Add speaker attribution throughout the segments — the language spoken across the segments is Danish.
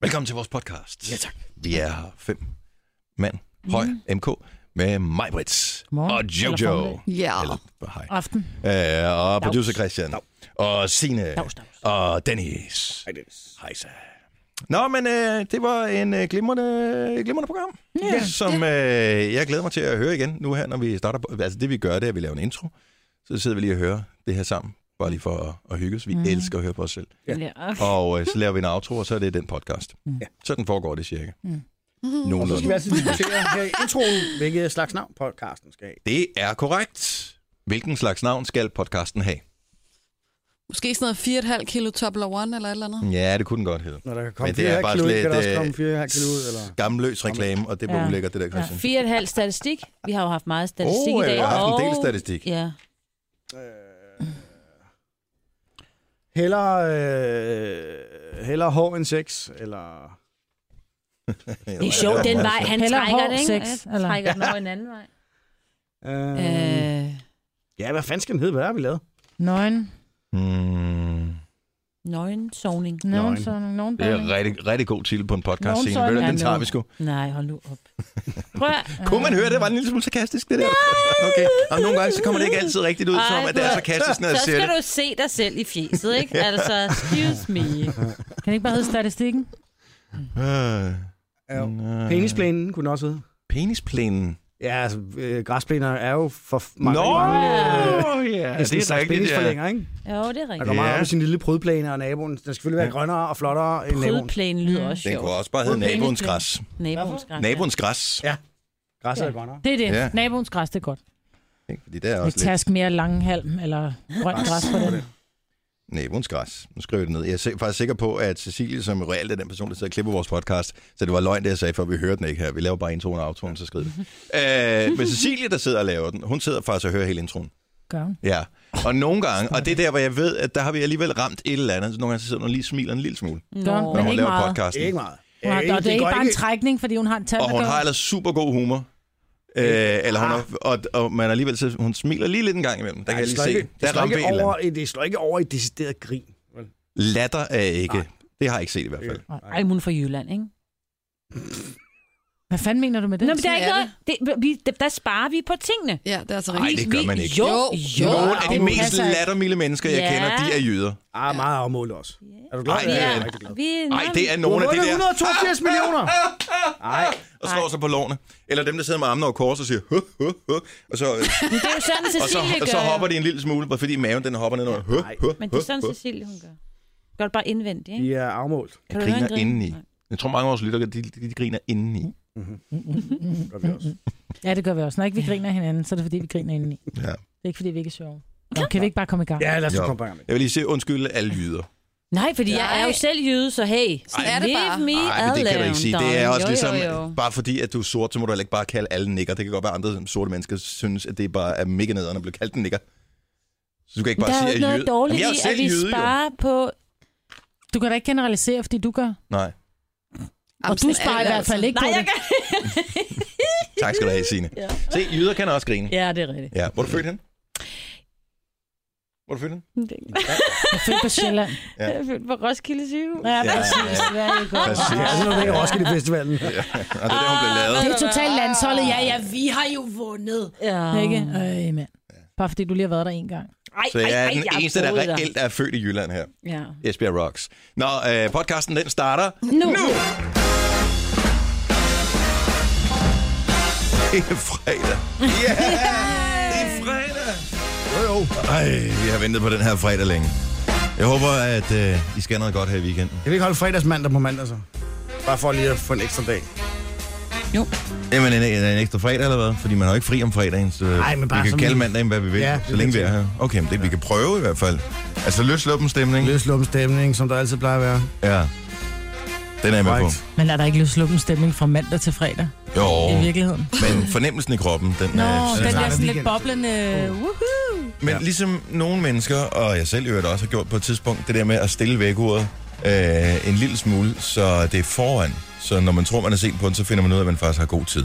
Speaker 1: Velkommen til vores podcast.
Speaker 2: Ja, tak.
Speaker 1: Vi er her fem mand høj MK med mig, Brits
Speaker 3: Godmorgen.
Speaker 1: Mm. og
Speaker 3: Mm. Eller
Speaker 1: Jojo.
Speaker 3: formiddag.
Speaker 2: Ja.
Speaker 1: Eller, hej.
Speaker 3: Aften.
Speaker 1: Øh, og producer Christian. Og Signe.
Speaker 3: Dags, dags.
Speaker 1: Og Dennis.
Speaker 2: Hej, Dennis.
Speaker 1: Hej så. Nå, men øh, det var en øh, glimrende, et glimrende program, ja, som øh, jeg glæder mig til at høre igen nu her, når vi starter. på- Altså det vi gør, det er, at vi laver en intro. Så sidder vi lige og hører det her sammen, bare lige for at, at hygge os. Vi mm. elsker at høre på os selv.
Speaker 2: Ja.
Speaker 3: Ja.
Speaker 1: Og øh, så laver vi en outro, og så er det den podcast. Mm.
Speaker 2: Ja.
Speaker 1: Sådan foregår det cirka. Mm.
Speaker 4: Mhm.
Speaker 2: Og så skal vi
Speaker 1: Nogenlunde.
Speaker 2: altid diskutere her i introen, hvilket slags navn podcasten skal have.
Speaker 1: Det er korrekt. Hvilken slags navn skal podcasten have?
Speaker 4: Måske sådan noget 4,5 kilo Tobler One eller et eller andet.
Speaker 1: Ja, det kunne den godt hedde.
Speaker 2: Når der kan komme
Speaker 1: Men det
Speaker 2: 4,5
Speaker 1: er bare
Speaker 2: kilo ud,
Speaker 1: slet,
Speaker 2: kan der også
Speaker 1: øh,
Speaker 2: komme 4,5 kilo ud, eller?
Speaker 1: Skamløs reklame, og det var
Speaker 3: Ja.
Speaker 1: ulækkert, det der,
Speaker 3: Ja.
Speaker 1: Christian.
Speaker 3: Fire og et halvt statistik. Vi har jo haft meget statistik
Speaker 1: Åh,
Speaker 3: i
Speaker 1: ja,
Speaker 3: dag.
Speaker 1: vi har haft en del
Speaker 3: og-
Speaker 1: statistik.
Speaker 3: Ja.
Speaker 2: Øh. Heller, øh, heller hår end sex, eller...
Speaker 3: Det er sjovt, den vej, han
Speaker 5: Heller
Speaker 3: trækker
Speaker 5: hård
Speaker 3: det, ikke?
Speaker 5: sex,
Speaker 3: Ja,
Speaker 5: eller?
Speaker 3: Trækker den over en anden vej.
Speaker 2: Øh,
Speaker 3: Øh,
Speaker 2: Ja, hvad fanden skal den hedde? Hvad har vi lavet?
Speaker 5: Nøgen.
Speaker 1: Mm,
Speaker 3: nøgen sovning.
Speaker 5: Nogen
Speaker 2: Nøgen.
Speaker 5: sådan, nogen
Speaker 1: det er en rigtig, rigtig god titel på en podcast
Speaker 5: Nogen
Speaker 1: scene.
Speaker 5: sådan
Speaker 1: Ved du,
Speaker 5: er
Speaker 1: den tager
Speaker 5: nu.
Speaker 1: vi sgu.
Speaker 3: Nej, hold nu op. Prøv at...
Speaker 1: Kunne man høre, det var en lille smule sarkastisk, det der? Okay. Og nogle gange, så kommer det ikke altid rigtigt ud, som at det er sarkastisk, når jeg
Speaker 3: Så
Speaker 1: siger
Speaker 3: skal
Speaker 1: det.
Speaker 3: du se dig selv i fjeset, ikke? Altså, excuse me.
Speaker 5: Kan det ikke bare hedde statistikken?
Speaker 1: Øh,
Speaker 2: Ja.
Speaker 1: nej.
Speaker 2: Penisplanen Øh. kunne den også hedde.
Speaker 1: Penisplænen.
Speaker 2: Ja, altså, øh, græsplæner er jo for f-
Speaker 1: Nå,
Speaker 2: mange, mange øh,
Speaker 1: ja,
Speaker 2: det er sådan en penisforlænger, ikke?
Speaker 3: Jo, det er
Speaker 2: Der
Speaker 3: rigtigt.
Speaker 2: går meget
Speaker 1: Ja.
Speaker 2: op i sin lille prydplæne, og naboen, den skal selvfølgelig være grønnere og flottere end naboen.
Speaker 3: Prydplæne lyder også
Speaker 1: Den kunne
Speaker 3: sjovt.
Speaker 1: også bare hedde naboens græs.
Speaker 3: Naboens græs.
Speaker 1: Naboens græs.
Speaker 2: Ja. Græsset er
Speaker 5: Ja.
Speaker 2: grønnere.
Speaker 5: Det er det.
Speaker 1: Ja.
Speaker 5: Ja. Naboens græs, det er godt.
Speaker 1: Ikke? Fordi det er
Speaker 5: Med
Speaker 1: også lidt
Speaker 5: task mere langhalm eller grønt græs på den.
Speaker 1: naboens græs. Nu skriver jeg det ned. Jeg er si- faktisk sikker på, at Cecilie, som reelt er den person, der sidder og klipper vores podcast, så det var løgn, det jeg sagde, for vi hørte den ikke her. Vi laver bare introen og autoen, så skriver det. øh, men Cecilie, der sidder og laver den, hun sidder faktisk og hører hele introen.
Speaker 5: Gør hun.
Speaker 1: Ja, og nogle gange, og det er der, hvor jeg ved, at der har vi alligevel ramt et eller andet. Så nogle gange så sidder hun og lige smiler en lille smule,
Speaker 5: Gør hun.
Speaker 3: Nå.
Speaker 1: når
Speaker 5: Men
Speaker 1: hun
Speaker 5: ikke
Speaker 1: laver
Speaker 5: meget.
Speaker 1: podcasten.
Speaker 2: Ikke meget.
Speaker 5: Hun har,
Speaker 2: ikke-
Speaker 5: og det er
Speaker 2: går
Speaker 5: ikke bare en trækning, fordi hun har en tand,
Speaker 1: Og
Speaker 5: der
Speaker 1: hun
Speaker 5: gør.
Speaker 1: har ellers super god humor. Øh, eller hun er, og, og, man alligevel så, hun smiler lige lidt en gang imellem. Der kan jeg lige
Speaker 2: slår
Speaker 1: se.
Speaker 2: ikke, det
Speaker 1: Der
Speaker 2: slår
Speaker 1: ramte vi et
Speaker 2: ikke
Speaker 1: eller
Speaker 2: over,
Speaker 1: andet.
Speaker 2: i- det slår ikke over i decideret grin. vel?
Speaker 1: Latter er ikke. Det har jeg ikke set i hvert
Speaker 2: Øh.
Speaker 1: fald.
Speaker 3: Ej, hun er fra Jylland, ikke?
Speaker 5: Hvad fanden mener du med det?
Speaker 3: Nå, men der er
Speaker 4: sådan
Speaker 3: ikke
Speaker 4: er
Speaker 3: noget. Det, vi, der- der sparer vi på tingene.
Speaker 4: Ja, det er altså
Speaker 1: Nej,
Speaker 4: rigtigt.
Speaker 1: det gør man ikke.
Speaker 3: Jo, jo.
Speaker 1: Nogle af de
Speaker 5: det
Speaker 1: mest
Speaker 4: altså,
Speaker 5: passer ikke.
Speaker 1: lattermilde mennesker, jeg
Speaker 3: Ja.
Speaker 1: kender, de er jyder.
Speaker 2: Ah, meget afmålet også. Er du glad?
Speaker 1: Ej,
Speaker 2: Ja, jeg
Speaker 1: øh,
Speaker 2: er rigtig glad.
Speaker 3: Vi,
Speaker 1: Nej,
Speaker 3: nå,
Speaker 1: det er
Speaker 2: Du
Speaker 1: nogle af de
Speaker 2: har
Speaker 1: der,
Speaker 2: vundet 182 millioner! Nej,
Speaker 1: og slår sig på lårene. Eller dem, der sidder med armene over kors og siger, huh, huh, huh. Og så,
Speaker 3: men det er jo sådan,
Speaker 1: og så,
Speaker 3: Cecilie
Speaker 1: og
Speaker 3: gør.
Speaker 1: så hopper de en lille smule, bare fordi maven den hopper ned under. Huh,
Speaker 2: Nej,
Speaker 1: huh,
Speaker 3: Men det
Speaker 1: huh,
Speaker 3: er sådan,
Speaker 1: huh.
Speaker 3: Cecilie, hun gør. Gør det bare indvendigt,
Speaker 2: de
Speaker 3: ikke?
Speaker 2: er afmålt.
Speaker 3: Kan du høre en
Speaker 1: Griner
Speaker 3: grin?
Speaker 1: indeni.
Speaker 3: Nej.
Speaker 1: Jeg tror, mange af vores lyttere, de, de, de griner indeni.
Speaker 2: Gør vi også.
Speaker 5: Ja, det gør vi også. Når ikke vi griner af hinanden, så er det fordi, vi griner indeni.
Speaker 1: Ja.
Speaker 5: Det er ikke fordi, vi ikke er sjove. Nå, kan vi ikke bare komme i gang?
Speaker 2: Ja, lad os
Speaker 1: Jo.
Speaker 2: nu komme bare med.
Speaker 1: Jeg vil lige sige undskyld alle jyder.
Speaker 3: Nej, fordi jeg er jo
Speaker 4: Nej.
Speaker 3: selv jøde, så hey.
Speaker 4: Sådan er det
Speaker 3: leave
Speaker 4: bare.
Speaker 3: me
Speaker 1: Nej, men det kan du ikke
Speaker 3: alone,
Speaker 1: sige. Det er
Speaker 3: darling.
Speaker 1: også
Speaker 3: Jo,
Speaker 1: ligesom,
Speaker 3: jo, jo.
Speaker 1: bare fordi, at du er sort, så må du heller ikke bare kalde alle nigger. Det kan godt være, at andre sorte mennesker synes, at det bare er mega nederen at blive kaldt en nigger. Så du kan ikke
Speaker 3: Der
Speaker 1: bare
Speaker 3: er jo
Speaker 1: sige,
Speaker 3: ikke
Speaker 1: at
Speaker 3: noget
Speaker 1: jyde...
Speaker 3: dårligt
Speaker 1: jeg er
Speaker 3: i,
Speaker 1: jo
Speaker 3: at
Speaker 1: selv
Speaker 3: vi
Speaker 1: jyde, jo.
Speaker 3: sparer på...
Speaker 5: Du kan da ikke generalisere, fordi du gør.
Speaker 1: Nej,
Speaker 5: Og du sparer i hvert fald ikke
Speaker 3: Nej,
Speaker 5: på
Speaker 3: jeg
Speaker 5: det.
Speaker 3: kan...
Speaker 1: tak skal du have, Signe. ja. Se, jyder kan også grine.
Speaker 3: Ja, det er rigtigt.
Speaker 1: Ja. Hvor er du født hen? Hvor er du født hen?
Speaker 5: Jeg føler på Sjælland.
Speaker 1: Ja.
Speaker 3: Jeg er født på Roskilde sygehus.
Speaker 5: Ja,
Speaker 1: Ja,
Speaker 5: præcis.
Speaker 1: ja.
Speaker 5: Ja, det er godt.
Speaker 1: Præcis.
Speaker 2: Ja, sådan noget i Roskilde Festivalen.
Speaker 1: Og det er der, hun
Speaker 3: Ah,
Speaker 1: blev lavet.
Speaker 5: Det er totalt landsholdet. Ja, ja, vi har jo vundet.
Speaker 3: Ja.
Speaker 5: Ikke? Øh, mand. Bare fordi du lige har været der en gang.
Speaker 3: Ej,
Speaker 1: Så jeg er den
Speaker 3: har
Speaker 1: eneste, der
Speaker 3: boet
Speaker 1: reelt er født i Jylland her.
Speaker 3: Ja.
Speaker 1: Esbjerg Rocks. Nå, øh, podcasten den starter
Speaker 3: Nu.
Speaker 1: Det er fredag. Ja, yeah, det er fredag. Jo, jo. Ej, jeg har ventet på den her fredag længe. Jeg håber, at øh, I skal noget godt her i weekenden.
Speaker 2: Kan vi ikke holde fredagsmandag på mandag så? Bare for lige at få en ekstra dag.
Speaker 1: Jamen, en, en, en ekstra fredag eller hvad? Fordi man har jo ikke fri om fredagen, så
Speaker 2: Nej, men bare
Speaker 1: vi kan
Speaker 2: sådan
Speaker 1: kalde
Speaker 2: en-
Speaker 1: mandagen, hvad vi vil,
Speaker 2: Ja,
Speaker 1: ja,
Speaker 2: det
Speaker 1: så
Speaker 2: er
Speaker 1: længe vi
Speaker 2: det.
Speaker 1: er her. Okay, men det vi kan prøve i hvert fald. Altså, løsluppen stemning.
Speaker 2: Løslum stemning, som der altid plejer at være.
Speaker 1: Ja. Den er jeg med på.
Speaker 2: Right.
Speaker 5: Men er der ikke løsluppen stemning fra mandag til fredag
Speaker 1: Jo,
Speaker 5: i virkeligheden?
Speaker 1: men fornemmelsen i kroppen, den
Speaker 5: Nå,
Speaker 1: er...
Speaker 5: den der
Speaker 2: er
Speaker 5: sådan lidt
Speaker 2: weekend.
Speaker 5: boblende... Woohoo!
Speaker 1: Men ja. ligesom nogle mennesker, og jeg selv i øvrigt også har gjort på et tidspunkt, det der med at stille vækordet øh, en lille smule, så det er foran. Så når man tror, man er sent på den, så finder man ud af, at man faktisk har god tid.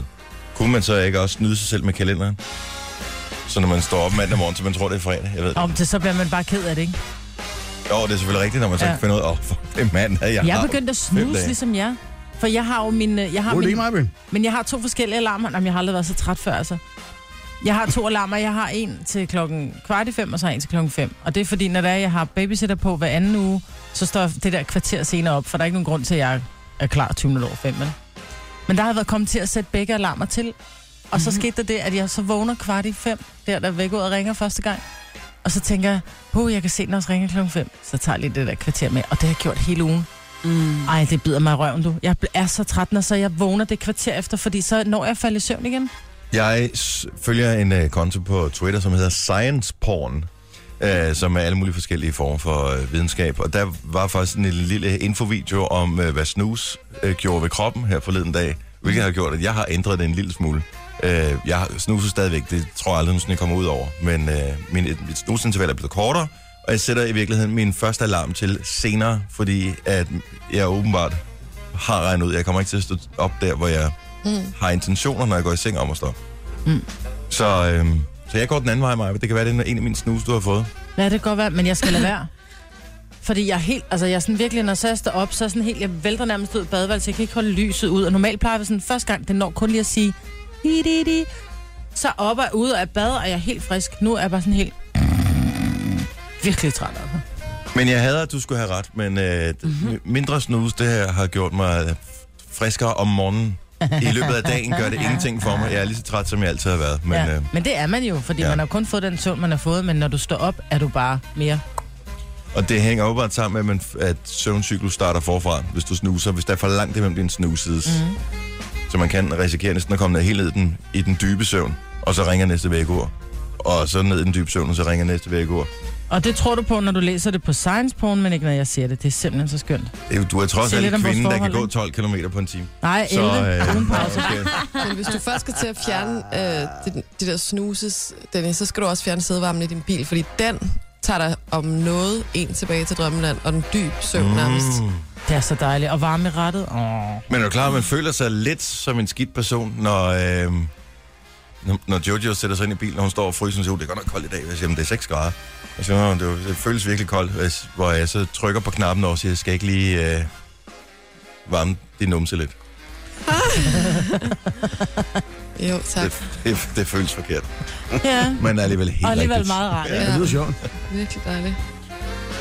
Speaker 1: Kunne man så ikke også nyde sig selv med kalenderen? Så når man står op mandag morgen, så man tror, det er fredag. Jeg ved det.
Speaker 5: Om til så bliver man bare ked af det, ikke?
Speaker 1: Jo, det er selvfølgelig rigtigt, når man så
Speaker 5: Ja.
Speaker 1: ja. finder ud af, oh, fuck, det er mandag, jeg,
Speaker 5: Jeg
Speaker 1: har
Speaker 5: er begyndt at
Speaker 1: fem
Speaker 5: snuse,
Speaker 1: dage."
Speaker 5: ligesom jer. For jeg har jo min... øh, Jeg har
Speaker 2: Nu er det
Speaker 5: min
Speaker 2: ikke mig, Ben.
Speaker 5: men jeg har to forskellige alarmer. Jamen, jeg har aldrig været så træt før, altså. Jeg har to alarmer. Jeg har en til klokken kvart i fem, og så har jeg en til klokken fem. Og det er fordi, når det er, jeg har babysitter på hver anden uge, så står jeg det der kvarter senere op, for der er ikke nogen grund til, at jeg er klar 20 minutter over fem. Men, men der har jeg været kommet til at sætte begge alarmer til. Og
Speaker 1: Mhm.
Speaker 5: så skete der det, at jeg så vågner kvart i fem, der der væk ud og ringer første gang. Og så tænker jeg, på jeg kan se, den også ringer klokken fem. Så tager jeg lige det der kvarter med, og det har jeg gjort hele ugen.
Speaker 4: Mm.
Speaker 5: Ej, det bider mig i røven, du. Jeg er så træt, når så jeg vågner det kvarter efter, fordi så når jeg falder i søvn igen.
Speaker 1: Jeg s- følger en øh, konto på Twitter, som hedder Science Porn, øh, som er alle mulige forskellige former for øh, videnskab. Og der var faktisk en lille infovideo om, øh, hvad snus øh, gjorde ved kroppen her forleden dag, hvilket har gjort, at jeg har ændret det en lille smule. Øh, jeg snuser stadigvæk, det tror jeg aldrig, nogensinde, jeg kommer ud over. Men øh, min, mit snusinterval er blevet kortere, og jeg sætter i virkeligheden min første alarm til senere, fordi at jeg åbenbart har regnet ud, jeg kommer ikke til at stå op der, hvor jeg
Speaker 4: Mm.
Speaker 1: har intentioner, når jeg går i seng om at stå op. Så, øhm, så jeg går den anden vej, Maja. Det kan være, det er en af mine snus, du har fået.
Speaker 5: Ja, det kan godt være, men jeg skal lade være. Fordi jeg er helt, altså jeg er sådan virkelig, når så jeg står op, så er sådan helt, jeg vælter nærmest ud i badeværelset, jeg kan ikke holde lyset ud. Og normalt plejer jeg sådan, første gang, det når kun lige at sige, di, di, di. så op og ude af bad, og jeg er helt frisk. Nu er jeg bare sådan helt, virkelig træt altså. af det.
Speaker 1: Men jeg hader, at du skulle have ret, men øh, mm-hmm. mindre snus, det her har gjort mig øh, friskere om morgenen. I løbet af dagen gør det ingenting for mig. Jeg er lige så træt, som jeg altid har været. Men,
Speaker 5: Men,
Speaker 1: ja.
Speaker 5: ja.
Speaker 1: øh,
Speaker 5: men det er man jo, fordi
Speaker 1: ja.
Speaker 5: ja. man har kun fået den søvn, man har fået, men når du står op, er du bare mere
Speaker 1: og det hænger åbenbart sammen med, at, man, at søvncyklus starter forfra, hvis du snuser. Hvis der er for langt imellem din snusides, mm-hmm. så man kan risikere næsten at komme ned helt ned i den, i den dybe søvn, og så ringer næste vækord. Og så ned i den dybe søvn, og så ringer næste vækord.
Speaker 5: Og det tror du på, når du læser det på science porn, men ikke når jeg siger det. Det er simpelthen så skønt.
Speaker 1: Du er trods
Speaker 5: Sig
Speaker 1: alt en
Speaker 5: lidt om vores
Speaker 1: kvinde, der kan
Speaker 5: forhold,
Speaker 1: gå
Speaker 5: ikke?
Speaker 1: 12 km på en time.
Speaker 5: Nej, 11. Øh, uden pause.
Speaker 1: okay.
Speaker 4: Men hvis du først skal til at fjerne
Speaker 1: Ah.
Speaker 4: øh, det, det der snuses, Dennis, så skal du også fjerne sædevarmen i din bil, fordi den tager dig om noget en tilbage til drømmeland, og den dyb søvn nærmest.
Speaker 1: Mm.
Speaker 5: Det er så dejligt. Og varme i rettet. Åh.
Speaker 1: Men er du klar, at man føler sig lidt som en skidt person, når, øh, når- når Jojo sætter sig ind i bilen, og hun står og fryser, og siger, "Uh, det er godt nok koldt i dag. Jeg siger, "Men det er 6 grader. Jeg siger, "Nå, det, var- det føles virkelig koldt, Og jeg s- hvor jeg så trykker på knappen og siger, skal jeg ikke lige øh, varme din numse lidt.
Speaker 4: Jo, tak.
Speaker 1: Det, det, det, føles forkert,
Speaker 5: Ja,
Speaker 1: men alligevel helt
Speaker 5: og alligevel
Speaker 1: rigtigt.
Speaker 5: meget rart.
Speaker 1: Ja.
Speaker 5: Ja.
Speaker 2: Det lyder sjovt.
Speaker 4: Virkelig dejligt.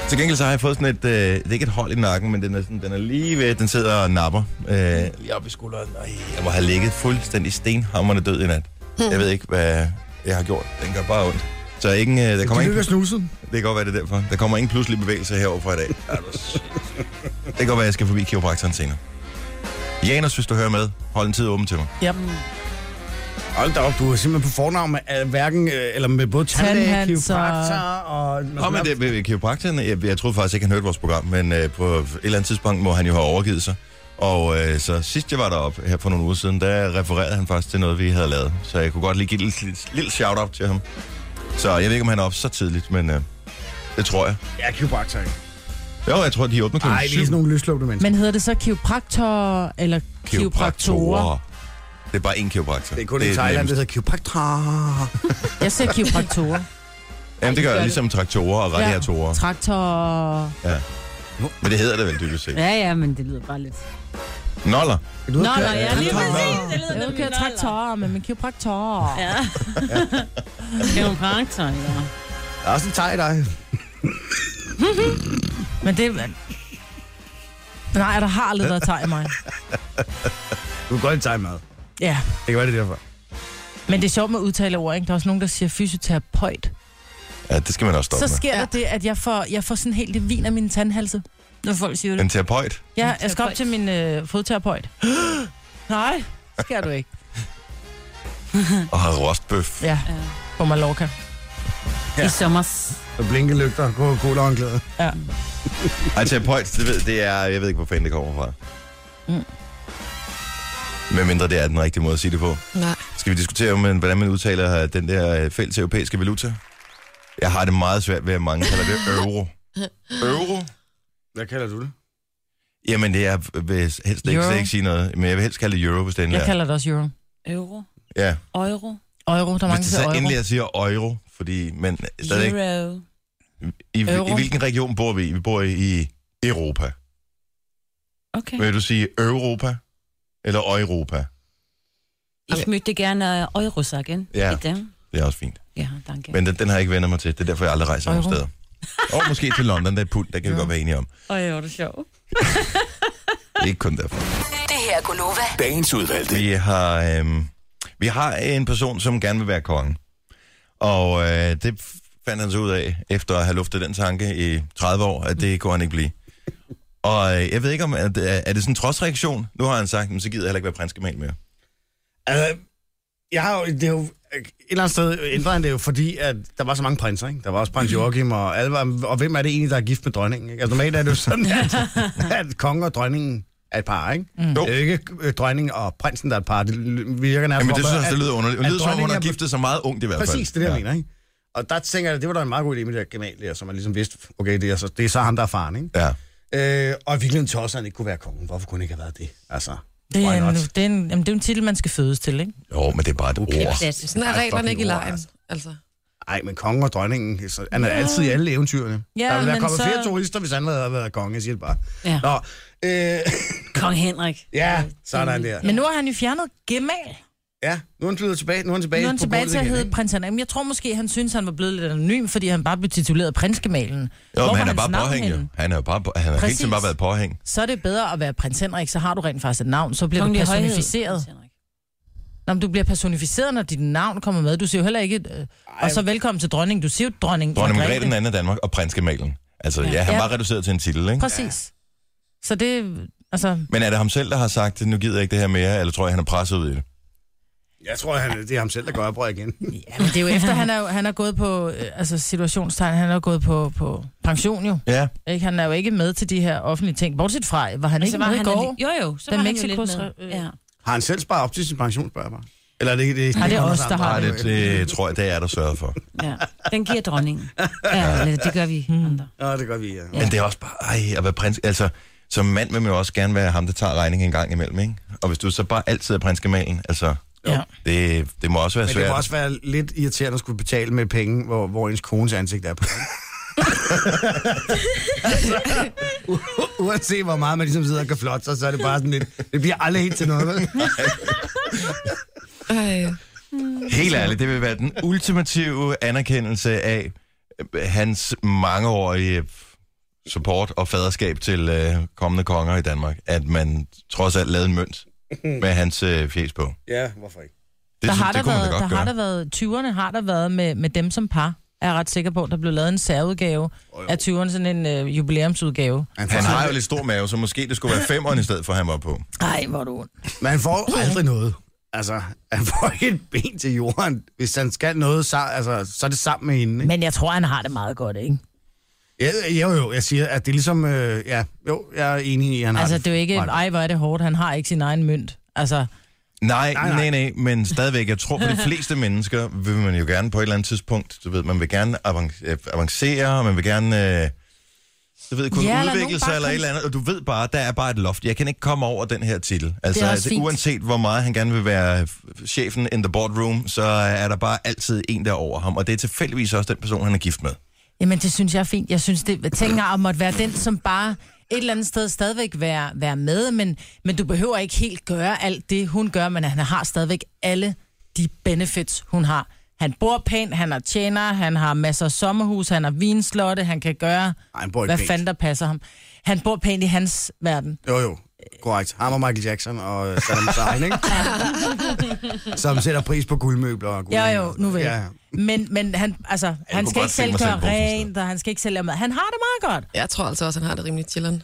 Speaker 1: Til gengæld så har jeg fået sådan et, øh, det er ikke et hold i nakken, men den er, sådan, den er lige ved, den sidder og napper. Øh, lige oppe i skulderen. Ej, jeg må have ligget fuldstændig stenhammerne død i nat. Jeg ved ikke, hvad jeg har gjort. Den gør bare ondt. Så ingen, øh, der
Speaker 2: Det
Speaker 1: kommer
Speaker 2: er
Speaker 1: ingen,
Speaker 2: ikke
Speaker 1: det
Speaker 2: snuset.
Speaker 1: kan godt være det er derfor. Der kommer ingen pludselig bevægelse herover fra i dag. Er du sindssyg? det kan godt være, jeg skal forbi kiropraktoren senere. Janus, hvis du hører med, hold en tid åben til mig.
Speaker 5: Ja.
Speaker 2: Hold da op, du er simpelthen på fornavn med øh, hverken, øh, eller med både tandlæge,
Speaker 5: Tandhands og-
Speaker 2: kiropraktor og...
Speaker 1: Nå, men det med kiropraktoren, jeg, jeg troede faktisk ikke, han hørte vores program, men øh, på et eller andet tidspunkt må han jo have overgivet sig. Og øh, så sidst jeg var deroppe her for nogle uger siden, der refererede han faktisk til noget, vi havde lavet. Så jeg kunne godt lige give et lille, lille, lille shout-out til ham. Så jeg ved ikke, om han er oppe så tidligt, men øh, det tror jeg.
Speaker 2: Ja, kiropraktor. ikke?
Speaker 1: Jo, jeg tror, de åbner
Speaker 2: Nej,
Speaker 1: klokken
Speaker 2: det er sådan
Speaker 1: syv.
Speaker 2: nogle løslåbte mennesker.
Speaker 5: Men hedder det så kiropraktor eller kiropraktorer?
Speaker 1: Kiropraktorer. Det er bare én kiropraktor.
Speaker 2: Det er kun i Thailand,
Speaker 1: nemmest.
Speaker 2: det hedder kiropraktor.
Speaker 5: Jeg siger kiropraktorer.
Speaker 1: Jamen, det
Speaker 4: Ej,
Speaker 1: gør
Speaker 4: de
Speaker 1: jeg
Speaker 4: gør
Speaker 1: ligesom traktorer og radiatorer.
Speaker 5: Traktor...
Speaker 1: Men det hedder det vel dybest set.
Speaker 3: Ja, ja, men det lyder bare lidt...
Speaker 1: Noller.
Speaker 2: Er du ude
Speaker 3: Nå,
Speaker 2: at
Speaker 3: nå,
Speaker 2: køre?
Speaker 3: ja, lige
Speaker 1: Traktor.
Speaker 3: præcis. Det lyder
Speaker 5: Jeg vil
Speaker 3: nemlig
Speaker 5: køre
Speaker 3: noget,
Speaker 5: traktorer, men min kiropraktor.
Speaker 3: eller? Ja. Det er jo karakter, ja.
Speaker 2: Der er også en thai i dig.
Speaker 5: Men det... Nej, der har aldrig været tag i mig.
Speaker 2: Du kan godt en thai-mad.
Speaker 5: Ja,
Speaker 2: Det kan være, det er derfor.
Speaker 5: men det er sjovt med udtaleord, ikke? Der er også nogen, der siger fysioterapeut.
Speaker 1: Ja, det skal man også stoppe
Speaker 5: Så sker der det, at jeg får, jeg får sådan helt det vin af min tandhalse, når folk siger det.
Speaker 1: med. En terapeut.
Speaker 5: Ja, jeg skal op til min øh, fodterapeut. Nej, det skal du ikke.
Speaker 1: Og har rostbøf.
Speaker 5: Ja,
Speaker 3: Ja.
Speaker 5: på Mallorca.
Speaker 3: I sommers.
Speaker 2: Og blinkelygter, coca-cola håndklæder.
Speaker 1: Ej, terapeut, det, ved, det er, jeg ved ikke, hvor fanden det kommer fra.
Speaker 5: Mm.
Speaker 1: Med mindre det er den rigtige måde at sige det på.
Speaker 4: Nej.
Speaker 1: Skal vi diskutere, om, øh, hvordan man udtaler øh, den der øh, fælles europæiske valuta? Jeg har det meget svært ved, at mange kalder det euro. Euro?
Speaker 2: Hvad kalder du det?
Speaker 1: Jamen, det er, jeg vil helst ikke,
Speaker 5: Euro.
Speaker 1: slet ikke sige noget, men jeg vil helst kalde det euro, hvis det endelig
Speaker 5: Jeg
Speaker 1: er.
Speaker 5: kalder det også euro.
Speaker 3: Euro.
Speaker 1: Ja,
Speaker 3: Euro.
Speaker 5: Euro, der er mange,
Speaker 1: hvis det så
Speaker 5: der siger
Speaker 1: endelig
Speaker 5: euro.
Speaker 1: jeg siger euro, fordi, men stadigvæk,
Speaker 3: Euro.
Speaker 1: I,
Speaker 5: Euro.
Speaker 1: I hvilken region bor vi i? Vi bor i Europa.
Speaker 3: Okay.
Speaker 1: Vil du sige Europa eller Europa?
Speaker 3: Ich möchte gerne äh, Euro sagen.
Speaker 1: Ja.
Speaker 3: Bitte.
Speaker 1: Det er også fint.
Speaker 3: Ja, danke.
Speaker 1: Men den, den har jeg ikke vendt mig til. Det er derfor, jeg aldrig rejser nogen
Speaker 3: Euro.
Speaker 1: steder. Og måske til London, der er pult, der kan vi godt være enige om.
Speaker 3: Øj, hvor er det sjovt.
Speaker 1: Ikke kun derfor.
Speaker 6: Det her er Gunova.
Speaker 1: Dagens udvalgte. Vi har, øhm, vi har en person, som gerne vil være kongen. Og øh, det fandt han så ud af, efter at have luftet den tanke i 30 år, at det kunne han ikke blive. Og øh, jeg ved ikke, om at, er er det sådan en trodsreaktion? Nu har han sagt, men så gider jeg heller ikke være prinskemal mere.
Speaker 2: Altså, jeg har jo, det er jo, et eller andet sted ændrede han det jo, fordi at der var så mange prinser, ikke? Der var også prins Joachim og alle var, og hvem er det egentlig, der er gift med dronningen, ikke? Altså normalt er det jo sådan, at, at kongen og dronningen er et par, ikke? Mm. Det er jo ikke øh, dronningen og prinsen, der er et par. Det l- virker nærmest
Speaker 1: Jamen, det
Speaker 2: som om,
Speaker 1: synes jeg,
Speaker 2: at-
Speaker 1: også, det lyder underligt. Det
Speaker 2: at
Speaker 1: lyder som om, hun
Speaker 2: dronningen
Speaker 1: har
Speaker 2: er på-
Speaker 1: giftet sig meget ungt i hvert fald.
Speaker 2: Præcis, det er det, jeg mener, ikke? Og der tænker jeg, det var da en meget god idé med det der kanal der, så man ligesom vidste, okay, det er, så, det er så ham, der er faren, ikke?
Speaker 1: Ja.
Speaker 2: Øh, og i virkeligheden tosset, at han ikke kunne være kongen. Hvorfor kunne han ikke have været det? Altså,
Speaker 5: Det
Speaker 2: why
Speaker 5: er, en,
Speaker 2: not?
Speaker 5: det, er en, jamen, det er en titel, man skal fødes til, ikke?
Speaker 1: Jo, men det er bare et
Speaker 2: Okay.
Speaker 1: ord.
Speaker 4: Sådan er
Speaker 2: Ej,
Speaker 4: reglerne
Speaker 2: fucking
Speaker 4: ikke i
Speaker 2: ord,
Speaker 4: lejen.
Speaker 2: altså.
Speaker 4: Altså.
Speaker 2: Nej, men kongen og dronningen, så, han er altid i alle eventyrene.
Speaker 5: Ja,
Speaker 2: der ville
Speaker 5: men
Speaker 2: være kommet
Speaker 5: så-
Speaker 2: så... flere turister, hvis han havde været konge, jeg siger det bare.
Speaker 3: Ja.
Speaker 2: Nå, øh,
Speaker 3: Kong Henrik.
Speaker 2: ja, så er der en der.
Speaker 5: Men nu har han jo fjernet gemal.
Speaker 2: Ja, nu er han flyttet tilbage, nu er han tilbage,
Speaker 5: Nu er han
Speaker 2: på
Speaker 5: tilbage
Speaker 2: gulvet
Speaker 5: til at
Speaker 2: igen,
Speaker 5: hedde
Speaker 2: ikke?
Speaker 5: prins Henrik. Men jeg tror måske, han synes, han var blevet lidt anonym, fordi han bare blev tituleret prinsgemalen. Hvor
Speaker 1: Jo,
Speaker 5: var
Speaker 1: men han er
Speaker 5: hans
Speaker 1: bare
Speaker 5: navn
Speaker 1: påhæng, jo.
Speaker 5: henne?
Speaker 1: Han er bare, han har hele tiden
Speaker 5: Præcis.
Speaker 1: bare været påhæng.
Speaker 5: Så er det bedre at være prins Henrik, så har du rent faktisk et navn. Så bliver
Speaker 3: Kongelig
Speaker 5: du
Speaker 3: Højhed,
Speaker 5: personificeret.
Speaker 3: prins Henrik.
Speaker 5: Nå, men du bliver personificeret, når dit navn kommer med. Du siger jo heller ikke... Øh, og så velkommen til dronning. Du siger jo dronning.
Speaker 1: Dronning Margrethe den anden af Danmark og prinskemalen. Altså, ja, han
Speaker 5: Ja.
Speaker 1: var reduceret til en titel, ikke?
Speaker 5: Præcis. Så det... Altså,
Speaker 1: Men er det ham selv, der har sagt, nu gider jeg ikke det her mere, eller tror jeg, han er presset ud i det?
Speaker 2: Jeg tror, han, det er ham selv, der gør oprør igen.
Speaker 5: ja, men det er jo efter, han er, jo- han er gået på... øh, Altså, situationstegn, han er jo gået på, på pension jo.
Speaker 1: Ja.
Speaker 5: Ikke? Han er jo ikke med til de her offentlige ting. Bortset fra, var han
Speaker 3: Og
Speaker 5: ikke
Speaker 3: så
Speaker 5: med
Speaker 3: var
Speaker 5: i
Speaker 3: han
Speaker 5: går?
Speaker 3: alli- Jo, jo, så
Speaker 5: Da
Speaker 3: var han jo
Speaker 5: Mexicos-
Speaker 3: lidt med.
Speaker 5: øh,
Speaker 3: Ja.
Speaker 2: Har han selv sparet op til sin pension, spørger jeg bare. Eller er det, det,
Speaker 5: Nej, det er
Speaker 2: kun
Speaker 5: os,
Speaker 2: andre?
Speaker 5: der har
Speaker 1: Nej,
Speaker 5: det.
Speaker 1: det, det tror jeg, det er der sørget for.
Speaker 3: Ja, den giver dronningen. Ja, eller det gør vi andre.
Speaker 2: Nå, det gør vi, ja.
Speaker 1: Men det er også bare, ej, at være prins, altså, som mand vil man jo også gerne være ham, der tager regningen en gang imellem, ikke? Og hvis du så bare altid er prinskemalen, altså,
Speaker 5: Ja.
Speaker 1: det, det må også være
Speaker 2: Men
Speaker 1: svært.
Speaker 2: det må også være lidt irriterende at skulle betale med penge, hvor, hvor ens kones ansigt er på. Altså, u- Uanset hvor meget man ligesom sidder og kan flotte sig, så er det bare sådan lidt... Det bliver aldrig helt til noget, vel?
Speaker 4: altså. Ej.
Speaker 1: Helt ærligt, det vil være den ultimative anerkendelse af øh, hans mangeårige support og faderskab til øh, kommende konger i Danmark, at man trods alt lavede en mønt med hans øh, fjes på. Det,
Speaker 2: Ja, hvorfor ikke?
Speaker 5: der
Speaker 1: synes-
Speaker 5: har
Speaker 1: det
Speaker 5: der
Speaker 1: kunne man da
Speaker 5: været,
Speaker 1: godt
Speaker 5: der
Speaker 1: gøre.
Speaker 5: har der været, 20'erne har der været med, med dem som par, er jeg ret sikker på. Der blev lavet en særudgave af 20'erne, sådan en øh, jubilæumsudgave.
Speaker 1: Han har jo lidt stor mave, så måske det skulle være femeren i stedet for, han var på.
Speaker 5: Ej, hvor er du ond.
Speaker 2: Man får aldrig noget. Altså, han får ikke et ben til jorden. Hvis han skal noget, så, altså, så er det sammen med hende. Ikke?
Speaker 5: Men jeg tror, han har det meget godt, ikke?
Speaker 2: Ja, jo, jo, jeg siger, at det er ligesom... Øh, ja, jo, jeg er enig i, at han har
Speaker 5: Altså, det er jo ikke,
Speaker 2: meget godt.
Speaker 5: ej, hvor er det hårdt, han har ikke sin egen mønt. Altså,
Speaker 1: Nej,
Speaker 2: Nej,
Speaker 1: nej, nej,
Speaker 2: nej.
Speaker 1: nej, men stadigvæk, jeg tror for de fleste mennesker, vil man jo gerne på et eller andet tidspunkt, du ved, man vil gerne avan- øh, avancere, og man vil gerne, øh, du ved, kunne
Speaker 5: Ja,
Speaker 1: ja,
Speaker 5: eller
Speaker 1: udvikle
Speaker 5: nogen
Speaker 1: sig
Speaker 5: bare
Speaker 1: eller et
Speaker 5: kan-
Speaker 1: eller andet, og du ved bare, der er bare et loft. Jeg kan ikke komme over den her titel. Altså,
Speaker 5: også
Speaker 1: altså
Speaker 5: fint.
Speaker 1: uanset hvor meget han gerne vil være f- chefen in the boardroom, så er der bare altid en der er over ham, og det er tilfældigvis også den person, han er gift med.
Speaker 5: jamen, det synes jeg er fint. Jeg synes, det tænker at måtte være den, som bare et eller andet sted stadigvæk være, være med, men, men du behøver ikke helt gøre alt det, hun gør, men han har stadigvæk alle de benefits, hun har. Han bor pænt, han har tjener, han har masser af sommerhus, han har vinslotte, han kan gøre,
Speaker 2: Ej, han bor ikke
Speaker 5: hvad
Speaker 2: pænt.
Speaker 5: fanden der passer ham. Han bor pænt i hans verden.
Speaker 2: Jo, jo. Korrekt. Ham og Michael Jackson og øh, Saddam Hussein, ikke? Som sætter pris på guldmøbler og
Speaker 5: Ja,
Speaker 2: guldmøbler.
Speaker 5: jo, nu vel.
Speaker 2: Ja.
Speaker 5: Men, men han, altså, han
Speaker 1: kunne
Speaker 5: skal
Speaker 1: godt se
Speaker 5: ikke selv
Speaker 1: mig selv
Speaker 5: gøre
Speaker 1: bruge sådan
Speaker 5: rent, og han skal ikke selv lave mad. Han har det meget godt.
Speaker 4: Jeg tror altså også, han har det rimelig chilleren.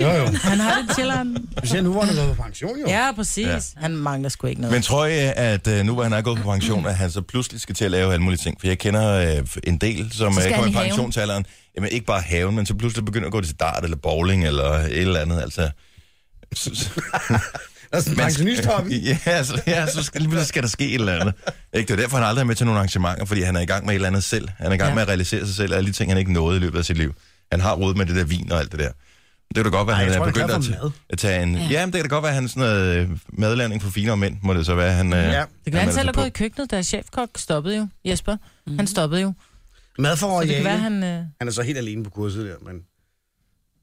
Speaker 2: Jo, jo.
Speaker 5: Han har det til ham.
Speaker 2: Specielt nu, hvor han er gået på pension, jo.
Speaker 5: Ja, præcis. Ja. Han mangler sgu ikke noget.
Speaker 1: Men tror jeg, at øh, nu hvor han er gået på pension, at han så pludselig skal til at lave alle mulige ting? For jeg kender øh, en del, som
Speaker 5: Så
Speaker 1: øh,
Speaker 5: skal
Speaker 1: kommer
Speaker 5: han
Speaker 1: i
Speaker 5: i haven.
Speaker 1: pensionsalderen. Jamen ikke bare haven, men så pludselig begynder at gå til dart eller bowling eller et eller andet. Altså, S- s-
Speaker 2: Altså,
Speaker 1: man-
Speaker 2: pensionisthoppen.
Speaker 1: ja, altså, ja, så skal, lige pludselig skal der ske et eller andet. Ikke? Det er derfor, han aldrig er med til nogle arrangementer, fordi han er i gang med et eller andet selv. Han er i gang ja.
Speaker 5: Ja.
Speaker 1: med at realisere sig selv, og alle de ting, han ikke nåede i løbet af sit liv. Han har rodet med det der vin og alt det der. Det kan da godt være,
Speaker 2: Ej,
Speaker 1: at
Speaker 2: jeg
Speaker 1: han
Speaker 2: tror,
Speaker 1: er
Speaker 2: han er
Speaker 1: begyndt at,
Speaker 2: glad for mad.
Speaker 1: t- at tage en... Ja. Jamen, det kan da godt være, at han er sådan noget øh, madlavning for finere mænd, må det så være. Han, øh,
Speaker 2: Ja. Det kan
Speaker 5: Det kan være,
Speaker 1: melder
Speaker 5: han selv
Speaker 1: sig
Speaker 5: er
Speaker 1: på.
Speaker 5: gået i køkkenet, da chefkok stoppede jo. Jesper, mm. han stoppede jo.
Speaker 2: Mad for
Speaker 5: Så det
Speaker 2: royale.
Speaker 5: kan være, han... Øh...
Speaker 2: Han er så helt alene på kurset der, men...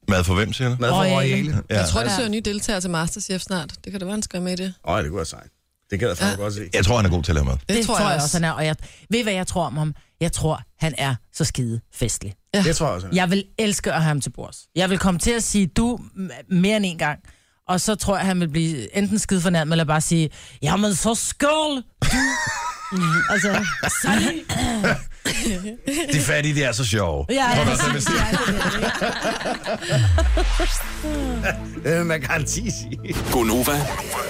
Speaker 1: Mad for hvem, siger du?
Speaker 2: Mad for
Speaker 5: Royale.
Speaker 2: royale.
Speaker 1: Ja.
Speaker 4: Jeg tror, de søger nye deltagere til Masterchef snart. Det kan da være, han skal være med i det.
Speaker 2: Åh, oh, det kunne være sejt. Det gad jeg fandme godt se.
Speaker 1: Jeg tror, han er god til at lave mad.
Speaker 4: Det, det tror jeg også.
Speaker 5: han er. Og jeg, ved I, hvad jeg tror om ham? Jeg tror, han er så skide festlig.
Speaker 2: Det tror jeg også. han er.
Speaker 5: Jeg vil elske at have ham til bords. Jeg vil komme til at sige du m- mere end en gang. Og så tror jeg, han vil blive enten skide fornærmet, eller bare sige, jamen så skål! altså, så er det-
Speaker 1: De fattige, de er så sjove.
Speaker 5: ja,
Speaker 1: Tror du
Speaker 5: altså, ja,
Speaker 1: også, han vil sige?
Speaker 2: Det vil Øh, man garanti sige.
Speaker 6: Gonova,
Speaker 3: Hmm.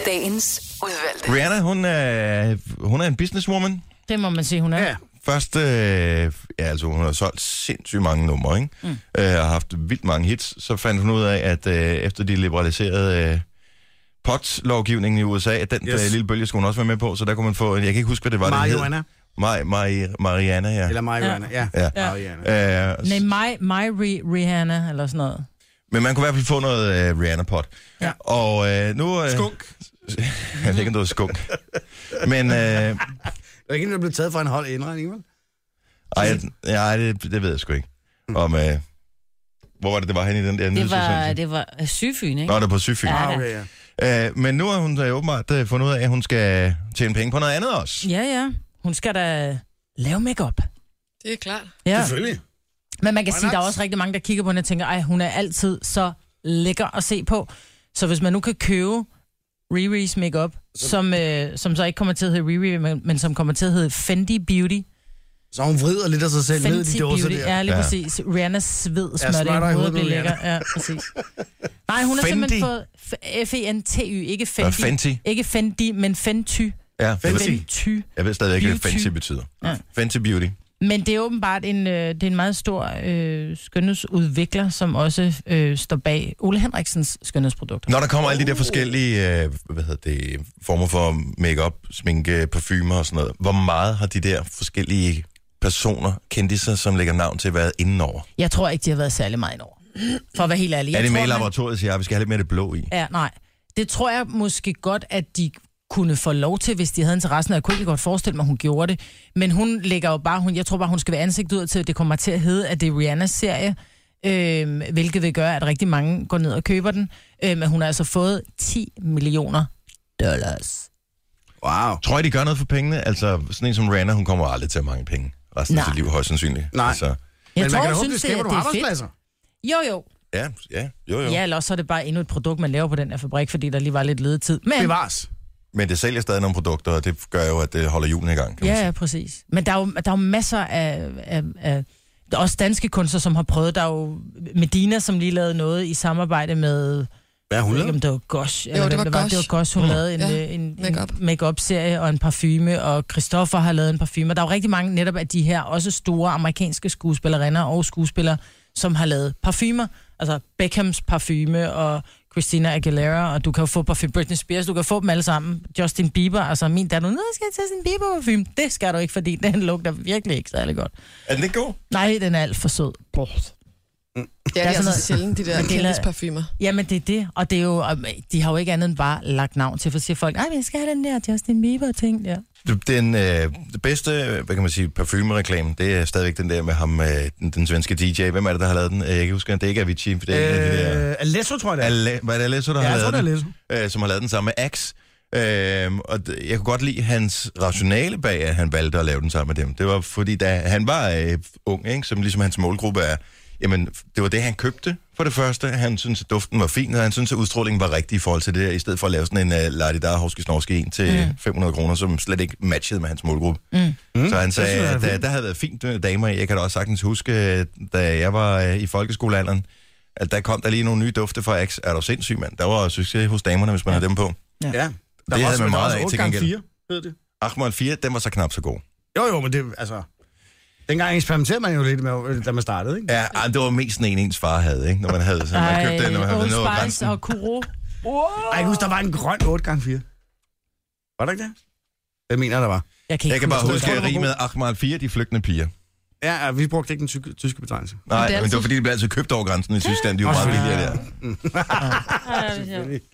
Speaker 7: Dagens udvalgte.
Speaker 1: Rihanna, hun er, hun er en businesswoman.
Speaker 5: det må man sige, hun er.
Speaker 2: Ja.
Speaker 5: Ja.
Speaker 1: Først, øh, ja, altså hun har solgt sindssygt mange numre, ikke? Mm. Øh, og har haft vildt mange hits. Så fandt hun ud af, at øh, efter de liberaliserede øh, pot-lovgivningen i USA, at den
Speaker 2: Yes.
Speaker 1: yes. øh, lille bølge skulle hun også være med på, så der kunne man få, jeg kan ikke huske, hvad det var,
Speaker 2: Marihuana.
Speaker 1: det hed. Mari, Mari, Mariana, ja.
Speaker 2: Eller marihuana, ja.
Speaker 1: Ja.
Speaker 2: Marihuana.
Speaker 1: Øh,
Speaker 5: Nej, my, my Ri- Rihanna, eller sådan noget.
Speaker 1: men man kunne i hvert fald få noget øh, Rihanna-pot.
Speaker 5: Ja.
Speaker 1: Og øh, nu... Øh,
Speaker 2: Skunk.
Speaker 1: Jeg ved ikke, om det var skunk. Men... Øh,
Speaker 2: Der er ikke en, der blev taget for en hold indregning, vel?
Speaker 1: Ej, jeg, nej, det, det ved jeg sgu ikke. Om, øh, hvor var det, det var henne i den der
Speaker 3: Det var,
Speaker 1: nyhedsudsendelse?
Speaker 3: det var øh, Sydfyn,
Speaker 1: Nå,
Speaker 3: ikke?
Speaker 1: det var på Syfyn.
Speaker 3: Ja.
Speaker 1: Ja.
Speaker 2: Ah, okay, ja.
Speaker 1: Øh, men nu har hun da åbenbart øh, fundet ud af, at hun skal tjene penge på noget andet også.
Speaker 5: Ja, ja. Hun skal da lave makeup.
Speaker 4: Det er klart.
Speaker 5: Ja.
Speaker 2: Selvfølgelig.
Speaker 5: Men man kan
Speaker 2: Why
Speaker 5: sige,
Speaker 2: not?
Speaker 5: at der er også rigtig mange, der kigger på hende og tænker, ej, hun er altid så lækker at se på. Så hvis man nu kan købe Riri's makeup, som, øh, som så ikke kommer til at hedde Riri, men, men som kommer til at hedde Fendi Beauty.
Speaker 2: Så hun vrider lidt af sig selv ned i de
Speaker 5: Fenty
Speaker 2: dåser
Speaker 5: Beauty,
Speaker 2: der.
Speaker 5: ja, lige
Speaker 1: Ja.
Speaker 5: ja. præcis. Rihanna sved smør det
Speaker 2: smartere i
Speaker 5: i
Speaker 2: hovedet
Speaker 5: hovedet, bliver
Speaker 2: nu,
Speaker 5: lækker. Ja, præcis. Nej, hun har
Speaker 1: Fendi?
Speaker 5: simpelthen fået F- E F-E-N-T-Y, ikke
Speaker 1: Nå,
Speaker 5: Fendi.
Speaker 1: Fenty.
Speaker 5: Ikke Fendi, men Fenty.
Speaker 1: Ja, jeg ved,
Speaker 2: Fenty.
Speaker 5: Fenty.
Speaker 1: jeg ved stadig ikke, hvad
Speaker 5: Beauty.
Speaker 1: Fenty betyder. Ja.
Speaker 5: Ja.
Speaker 1: Fenty Beauty.
Speaker 5: Men det er åbenbart en, øh, det er en meget stor øh, skønhedsudvikler, som også øh, står bag Ole Henriksens skønhedsprodukter.
Speaker 1: Når der kommer alle de der forskellige øh, hvad hedder det, former for makeup, sminke, parfumer og sådan noget, hvor meget har de der forskellige personer, kendiser, som lægger navn til, været indenover?
Speaker 5: Jeg tror ikke, de har været særlig meget over. For at være helt ærlig.
Speaker 1: er
Speaker 5: Jeg
Speaker 1: det
Speaker 5: tror,
Speaker 1: med i
Speaker 5: man-
Speaker 1: laboratoriet, siger jeg, vi skal have lidt mere det blå i?
Speaker 5: Ja, nej. Det tror jeg måske godt, at de kunne få lov til, hvis de havde interessen, og jeg kunne ikke godt forestille mig, at hun gjorde det. Men hun lægger jo bare, hun, jeg tror bare, hun skal være ansigt ud til, at det kommer til at hedde, at det er Rihannas serie, øhm, hvilket vil gøre, at rigtig mange går ned og køber den. Øh, men hun har altså fået 10 millioner dollars.
Speaker 2: Wow.
Speaker 1: Tror I, de gør noget for pengene? Altså, sådan en som Rihanna, hun kommer aldrig til at mange penge. Resten af
Speaker 5: Nej.
Speaker 1: sit liv, højst sandsynligt.
Speaker 2: Nej.
Speaker 1: Altså,
Speaker 5: Jeg
Speaker 2: Men man
Speaker 5: tror,
Speaker 2: kan da
Speaker 5: hun
Speaker 2: håbe,
Speaker 5: synes,
Speaker 2: det
Speaker 5: det,
Speaker 2: skaber
Speaker 5: det
Speaker 2: nogle
Speaker 5: er fedt.
Speaker 2: arbejdspladser.
Speaker 5: Jo, jo.
Speaker 1: ja, ja, jo, jo.
Speaker 5: Ja, eller også så er det bare endnu et produkt, man laver på den her fabrik, fordi der lige var lidt ledetid. Men,
Speaker 2: Bevares.
Speaker 1: Men det sælger stadig nogle produkter, og det gør jo, at det holder julen i gang. Kan man
Speaker 5: ja, ja, præcis. Men der er jo, der er jo masser af, af, af der er også danske kunstnere, som har prøvet. Der er jo Medina, som lige lavede noget i samarbejde med...
Speaker 2: Hvad har
Speaker 5: Jeg
Speaker 2: hun
Speaker 5: ved ikke,
Speaker 2: lavet?
Speaker 5: om det var Gosh.
Speaker 4: Jo, det
Speaker 5: hvem
Speaker 4: var
Speaker 5: Det
Speaker 4: Gosh.
Speaker 5: var, det var Gosh. Hun
Speaker 1: Mm.
Speaker 5: mm. lavede en,
Speaker 4: Ja,
Speaker 5: ja, en,
Speaker 4: make-up.
Speaker 5: en make-up-serie og en parfume, og Christoffer har lavet en parfume. Og Der er jo rigtig mange netop af de her også store amerikanske skuespillerinder og skuespillere, som har lavet parfumer. Altså Beckhams parfume og Christina Aguilera, og du kan jo få parfume Britney Spears, du kan få dem alle sammen. Justin Bieber, altså min datter, nu skal jeg tage sin Bieber-parfume. Det skal du ikke, fordi den lugter virkelig ikke særlig godt.
Speaker 1: sige. Er den ikke god?
Speaker 5: Nej, den er alt for sød. Brrr.
Speaker 4: Ja, det
Speaker 5: er
Speaker 4: er,
Speaker 5: sådan
Speaker 4: altså
Speaker 5: noget-
Speaker 4: sjældent, de der
Speaker 5: Men det er-
Speaker 4: kendisparfumer.
Speaker 5: Jamen, det er det. Og det er jo, og de har jo ikke andet end bare lagt navn til, for så siger folk, nej, men jeg skal have den der Justin Bieber-ting der.
Speaker 1: Det- Den øh, det bedste, øh, hvad kan man sige, parfumereklame, det er stadigvæk den der med ham, øh, den, den svenske DJ. Hvem er det, der har lavet den? Øh, Jeg kan ikke huske, det er ikke Avicii, for det er øh, en af de der...
Speaker 2: Øh, Alesso, tror jeg, det er.
Speaker 1: Ale, var det Alesso, der
Speaker 2: Ja,
Speaker 1: har
Speaker 2: jeg tror,
Speaker 1: lavet
Speaker 2: det er
Speaker 1: den?
Speaker 2: Alesso.
Speaker 1: øh, som har lavet den samme med Axe. Øhm, og d- jeg kunne godt lide hans rationale bag, at han valgte at lave den sammen med dem. Det var fordi, da han var øh, ung, ikke, som ligesom hans målgruppe er, jamen, f- det var det, han købte for det første. Han synes at duften var fin, og han synes at udstrålingen var rigtig i forhold til det her, i stedet for at lave sådan en øh, Lardy Dar Horske Snorske en til mm. 500 kroner, som slet ikke matchede med hans målgruppe. Mm. Så han sagde,
Speaker 2: Hmm? synes jeg er
Speaker 1: at øh, der havde været fint øh, damer i. Jeg kan da også sagtens huske, øh, da jeg var øh, i folkeskolealderen, at der kom der lige nogle nye dufte fra Axe. Er du sindssyg, mand? Der var succes hos damerne, hvis man ja. havde dem på.
Speaker 2: Ja. Der
Speaker 1: Det
Speaker 2: var
Speaker 1: havde
Speaker 2: også-
Speaker 1: man
Speaker 2: der var
Speaker 1: meget
Speaker 2: også
Speaker 1: af til
Speaker 2: 8 gange
Speaker 1: gengæld.
Speaker 2: 4, hed det.
Speaker 1: Achmann 4, den var så knap så god.
Speaker 2: Jo, jo, men det, altså... Dengang eksperimenterede man jo lidt med, øh, da man startede, ikke?
Speaker 1: Ja, ej, det var mest den ene, ens far havde, ikke? Når man havde, så man købte den, når man havde
Speaker 5: Old
Speaker 1: noget
Speaker 5: Spice
Speaker 1: grænsen.
Speaker 5: og Kuro.
Speaker 2: Ej, jeg husker, der var en grøn 8x4. Var der ikke det? Jeg mener, der var.
Speaker 5: Jeg kan ikke
Speaker 1: Jeg kan bare
Speaker 5: huske
Speaker 1: huske
Speaker 5: det.
Speaker 1: rimet Achmann 4, de flygtende piger.
Speaker 2: Ja, ja, vi brugte ikke den tyske, tyske betegnelse.
Speaker 1: Nej,
Speaker 4: Det er
Speaker 1: men det var fordi, de blev altid købt over grænsen i Tyskland. De var meget billigere der.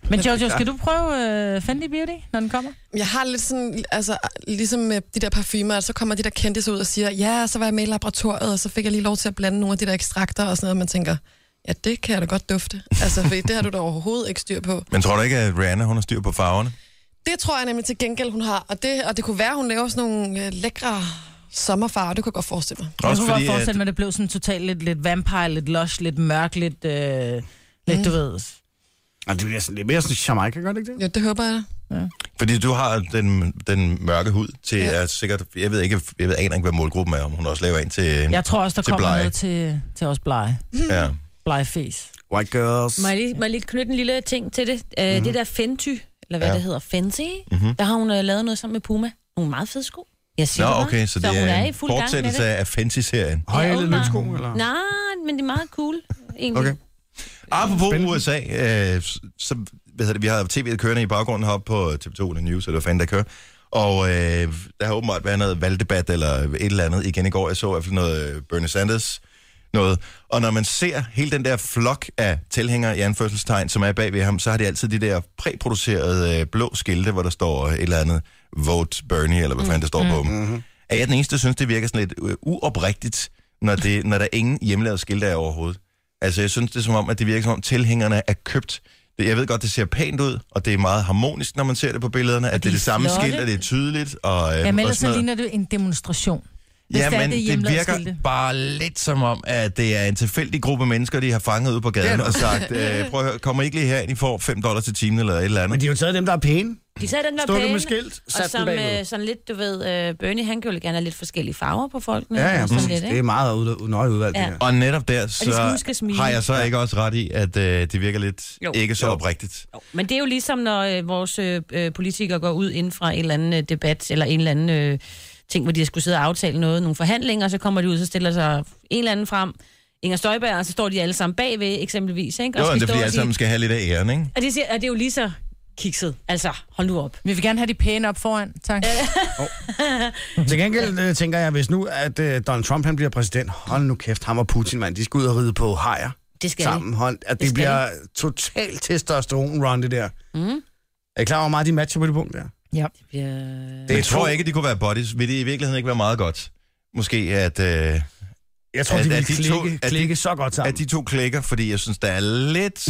Speaker 5: Men Jojo, skal du prøve uh, Fendi Beauty, når den kommer?
Speaker 4: Jeg har lidt sådan, altså, ligesom med de der parfumer, at så kommer de der kendte ud og siger, ja, så var jeg med i laboratoriet, og så fik jeg lige lov til at blande nogle af de der ekstrakter og sådan noget, man tænker, ja, det kan jeg da godt dufte. Altså, for det har du da overhovedet ikke styr på.
Speaker 1: Men tror du ikke, at Rihanna hun har styr på farverne?
Speaker 4: Det tror jeg nemlig til gengæld, hun har, og det, og det kunne være, hun laver sådan nogle øh, lækre sommerfarver, det kunne jeg godt forestille mig.
Speaker 5: jeg kunne godt forestille mig, at det blev sådan totalt lidt, lidt vampire, lidt lush, lidt mørk, lidt, øh, lidt mm. du ved.
Speaker 2: Og det bliver sådan, det er mere sådan Jamaica, gør det ikke det?
Speaker 4: Ja, det håber jeg da.
Speaker 1: Fordi du har den, den mørke hud til, ja. er sikkert, jeg ved ikke, jeg ved aner ikke, hvad målgruppen er, om hun også laver en til...
Speaker 5: Jeg tror også, der
Speaker 1: Til
Speaker 5: kommer
Speaker 1: blege.
Speaker 5: noget til, til os blege.
Speaker 1: Ja.
Speaker 5: Blegefæs.
Speaker 2: White girls.
Speaker 3: Må jeg lige, må jeg lige knytte en lille ting til det? Uh, mm. Det der Fenty, eller hvad
Speaker 1: Mhm. Ja.
Speaker 3: ja. det hedder, Fenty,
Speaker 1: Mhm.
Speaker 3: mm-hmm. der har hun uh, lavet noget sammen med Puma. Nogle meget fede sko. Jeg siger
Speaker 1: Nå,
Speaker 3: det bare.
Speaker 1: okay, så det
Speaker 3: hun
Speaker 1: er
Speaker 3: er i
Speaker 1: en
Speaker 3: fuld gang med
Speaker 1: fortsættelse
Speaker 3: det.
Speaker 1: af Fancy-serien.
Speaker 2: Høje
Speaker 3: Ja,
Speaker 2: ja,
Speaker 3: åbenbart.
Speaker 2: løbsko, eller?
Speaker 3: Nej, men det er meget cool, egentlig.
Speaker 2: Okay.
Speaker 1: Apropos
Speaker 2: Spændende.
Speaker 1: USA, øh, så hvad hedder det, vi har tv'et kørende i baggrunden heroppe på TV2 eller News, eller hvad fanden der kører. Og øh, der har åbenbart været noget valgdebat eller et eller andet igen i går. Jeg så i hvert fald noget øh, Bernie Sanders noget. Og når man ser hele den der flok af tilhængere i anførselstegn, som er bag ved ham, så har de altid de der præproducerede øh, blå skilte, hvor der står øh, et eller andet Vote Bernie, eller hvad fanden der står på dem. Er jeg den eneste, der synes, det virker sådan lidt øh, uoprigtigt, når, det, når der ingen hjemmelavede skilte er overhovedet? Altså, jeg synes, det er som om, at det virker som om, tilhængerne er købt. Det- Jeg ved godt, det ser pænt ud, og det er meget harmonisk, når man ser det på billederne, at det er
Speaker 5: de
Speaker 1: det samme
Speaker 5: flotte.
Speaker 1: skilt, og det er tydeligt, og, øh,
Speaker 5: Ja, men
Speaker 1: og sådan
Speaker 5: ellers så
Speaker 1: noget.
Speaker 5: ligner det jo en demonstration. Hvis
Speaker 1: Ja,
Speaker 5: det er,
Speaker 1: men
Speaker 5: det er
Speaker 1: det
Speaker 5: hjemmelavede
Speaker 1: virker
Speaker 5: skilte.
Speaker 1: bare lidt som om, at det er en tilfældig gruppe mennesker, de har fanget ude på gaden og sagt, øh, prøv at høre, kommer I ikke lige herind, I får 5 dollars til timen eller et eller
Speaker 2: Men
Speaker 1: andet.
Speaker 2: de har jo taget dem, der er pæne.
Speaker 3: De sagde, den var
Speaker 2: Stod det
Speaker 3: pæn,
Speaker 2: med skilt,
Speaker 3: og
Speaker 2: sat den
Speaker 3: som øh,
Speaker 2: bagved.
Speaker 3: sådan lidt, du ved, øh, Bernie, han gjorde gerne have lidt forskellige farver på folkene.
Speaker 2: Ja, ja,
Speaker 3: og
Speaker 1: Mhm.
Speaker 3: sådan
Speaker 2: præcis.
Speaker 3: lidt,
Speaker 2: Det
Speaker 3: ikke?
Speaker 2: er meget ude, nøje udvalgt, det
Speaker 3: Ja.
Speaker 2: her.
Speaker 1: Og netop der,
Speaker 3: skal
Speaker 1: så
Speaker 3: huske at smile.
Speaker 1: har jeg så ikke også ret i, at øh, det virker lidt
Speaker 3: Jo.
Speaker 1: ikke så
Speaker 2: Jo.
Speaker 1: oprigtigt.
Speaker 3: Jo, Men det er jo ligesom, når øh, vores øh, øh, politikere går ud inden fra en eller anden øh, debat, eller en eller anden øh, ting, hvor de skulle sidde og aftale noget, nogle forhandlinger, og så kommer de ud, så stiller sig en eller anden frem, Inger Støjberg, og så står de alle sammen bagved, eksempelvis. Ikke? Og
Speaker 1: Jo,
Speaker 3: skal
Speaker 1: det er
Speaker 3: stå
Speaker 1: fordi,
Speaker 3: og
Speaker 1: alle
Speaker 3: sige-
Speaker 1: sammen skal have lidt af æren, ikke?
Speaker 3: Og det, siger, og det er jo lige så kikset. Altså, hold nu op.
Speaker 5: Vi vil gerne have de pæne op foran, tak.
Speaker 2: Til gengæld øh, tænker jeg, hvis nu at øh, Donald Trump han bliver præsident, hold nu kæft, ham og Putin, mand, de skal ud og ride på hajer
Speaker 3: Det skal
Speaker 2: sammen. Hold, at det,
Speaker 3: skal
Speaker 2: bliver totalt testosteron-run, det der. Mm. Er I klar over, hvor meget de matcher på det punkt der?
Speaker 5: Ja.
Speaker 3: de. Øh,
Speaker 1: Det
Speaker 2: er
Speaker 1: jeg tror
Speaker 2: to-
Speaker 1: ikke, det kunne være buddies. Vil det i virkeligheden ikke være meget godt? Måske at, øh,
Speaker 2: Jeg tror,
Speaker 1: Er-
Speaker 2: de
Speaker 1: er
Speaker 2: vil
Speaker 1: de to-
Speaker 2: klikke,
Speaker 1: er de-
Speaker 2: klikke så godt sammen.
Speaker 1: at de to klikker, fordi jeg synes, der er lidt...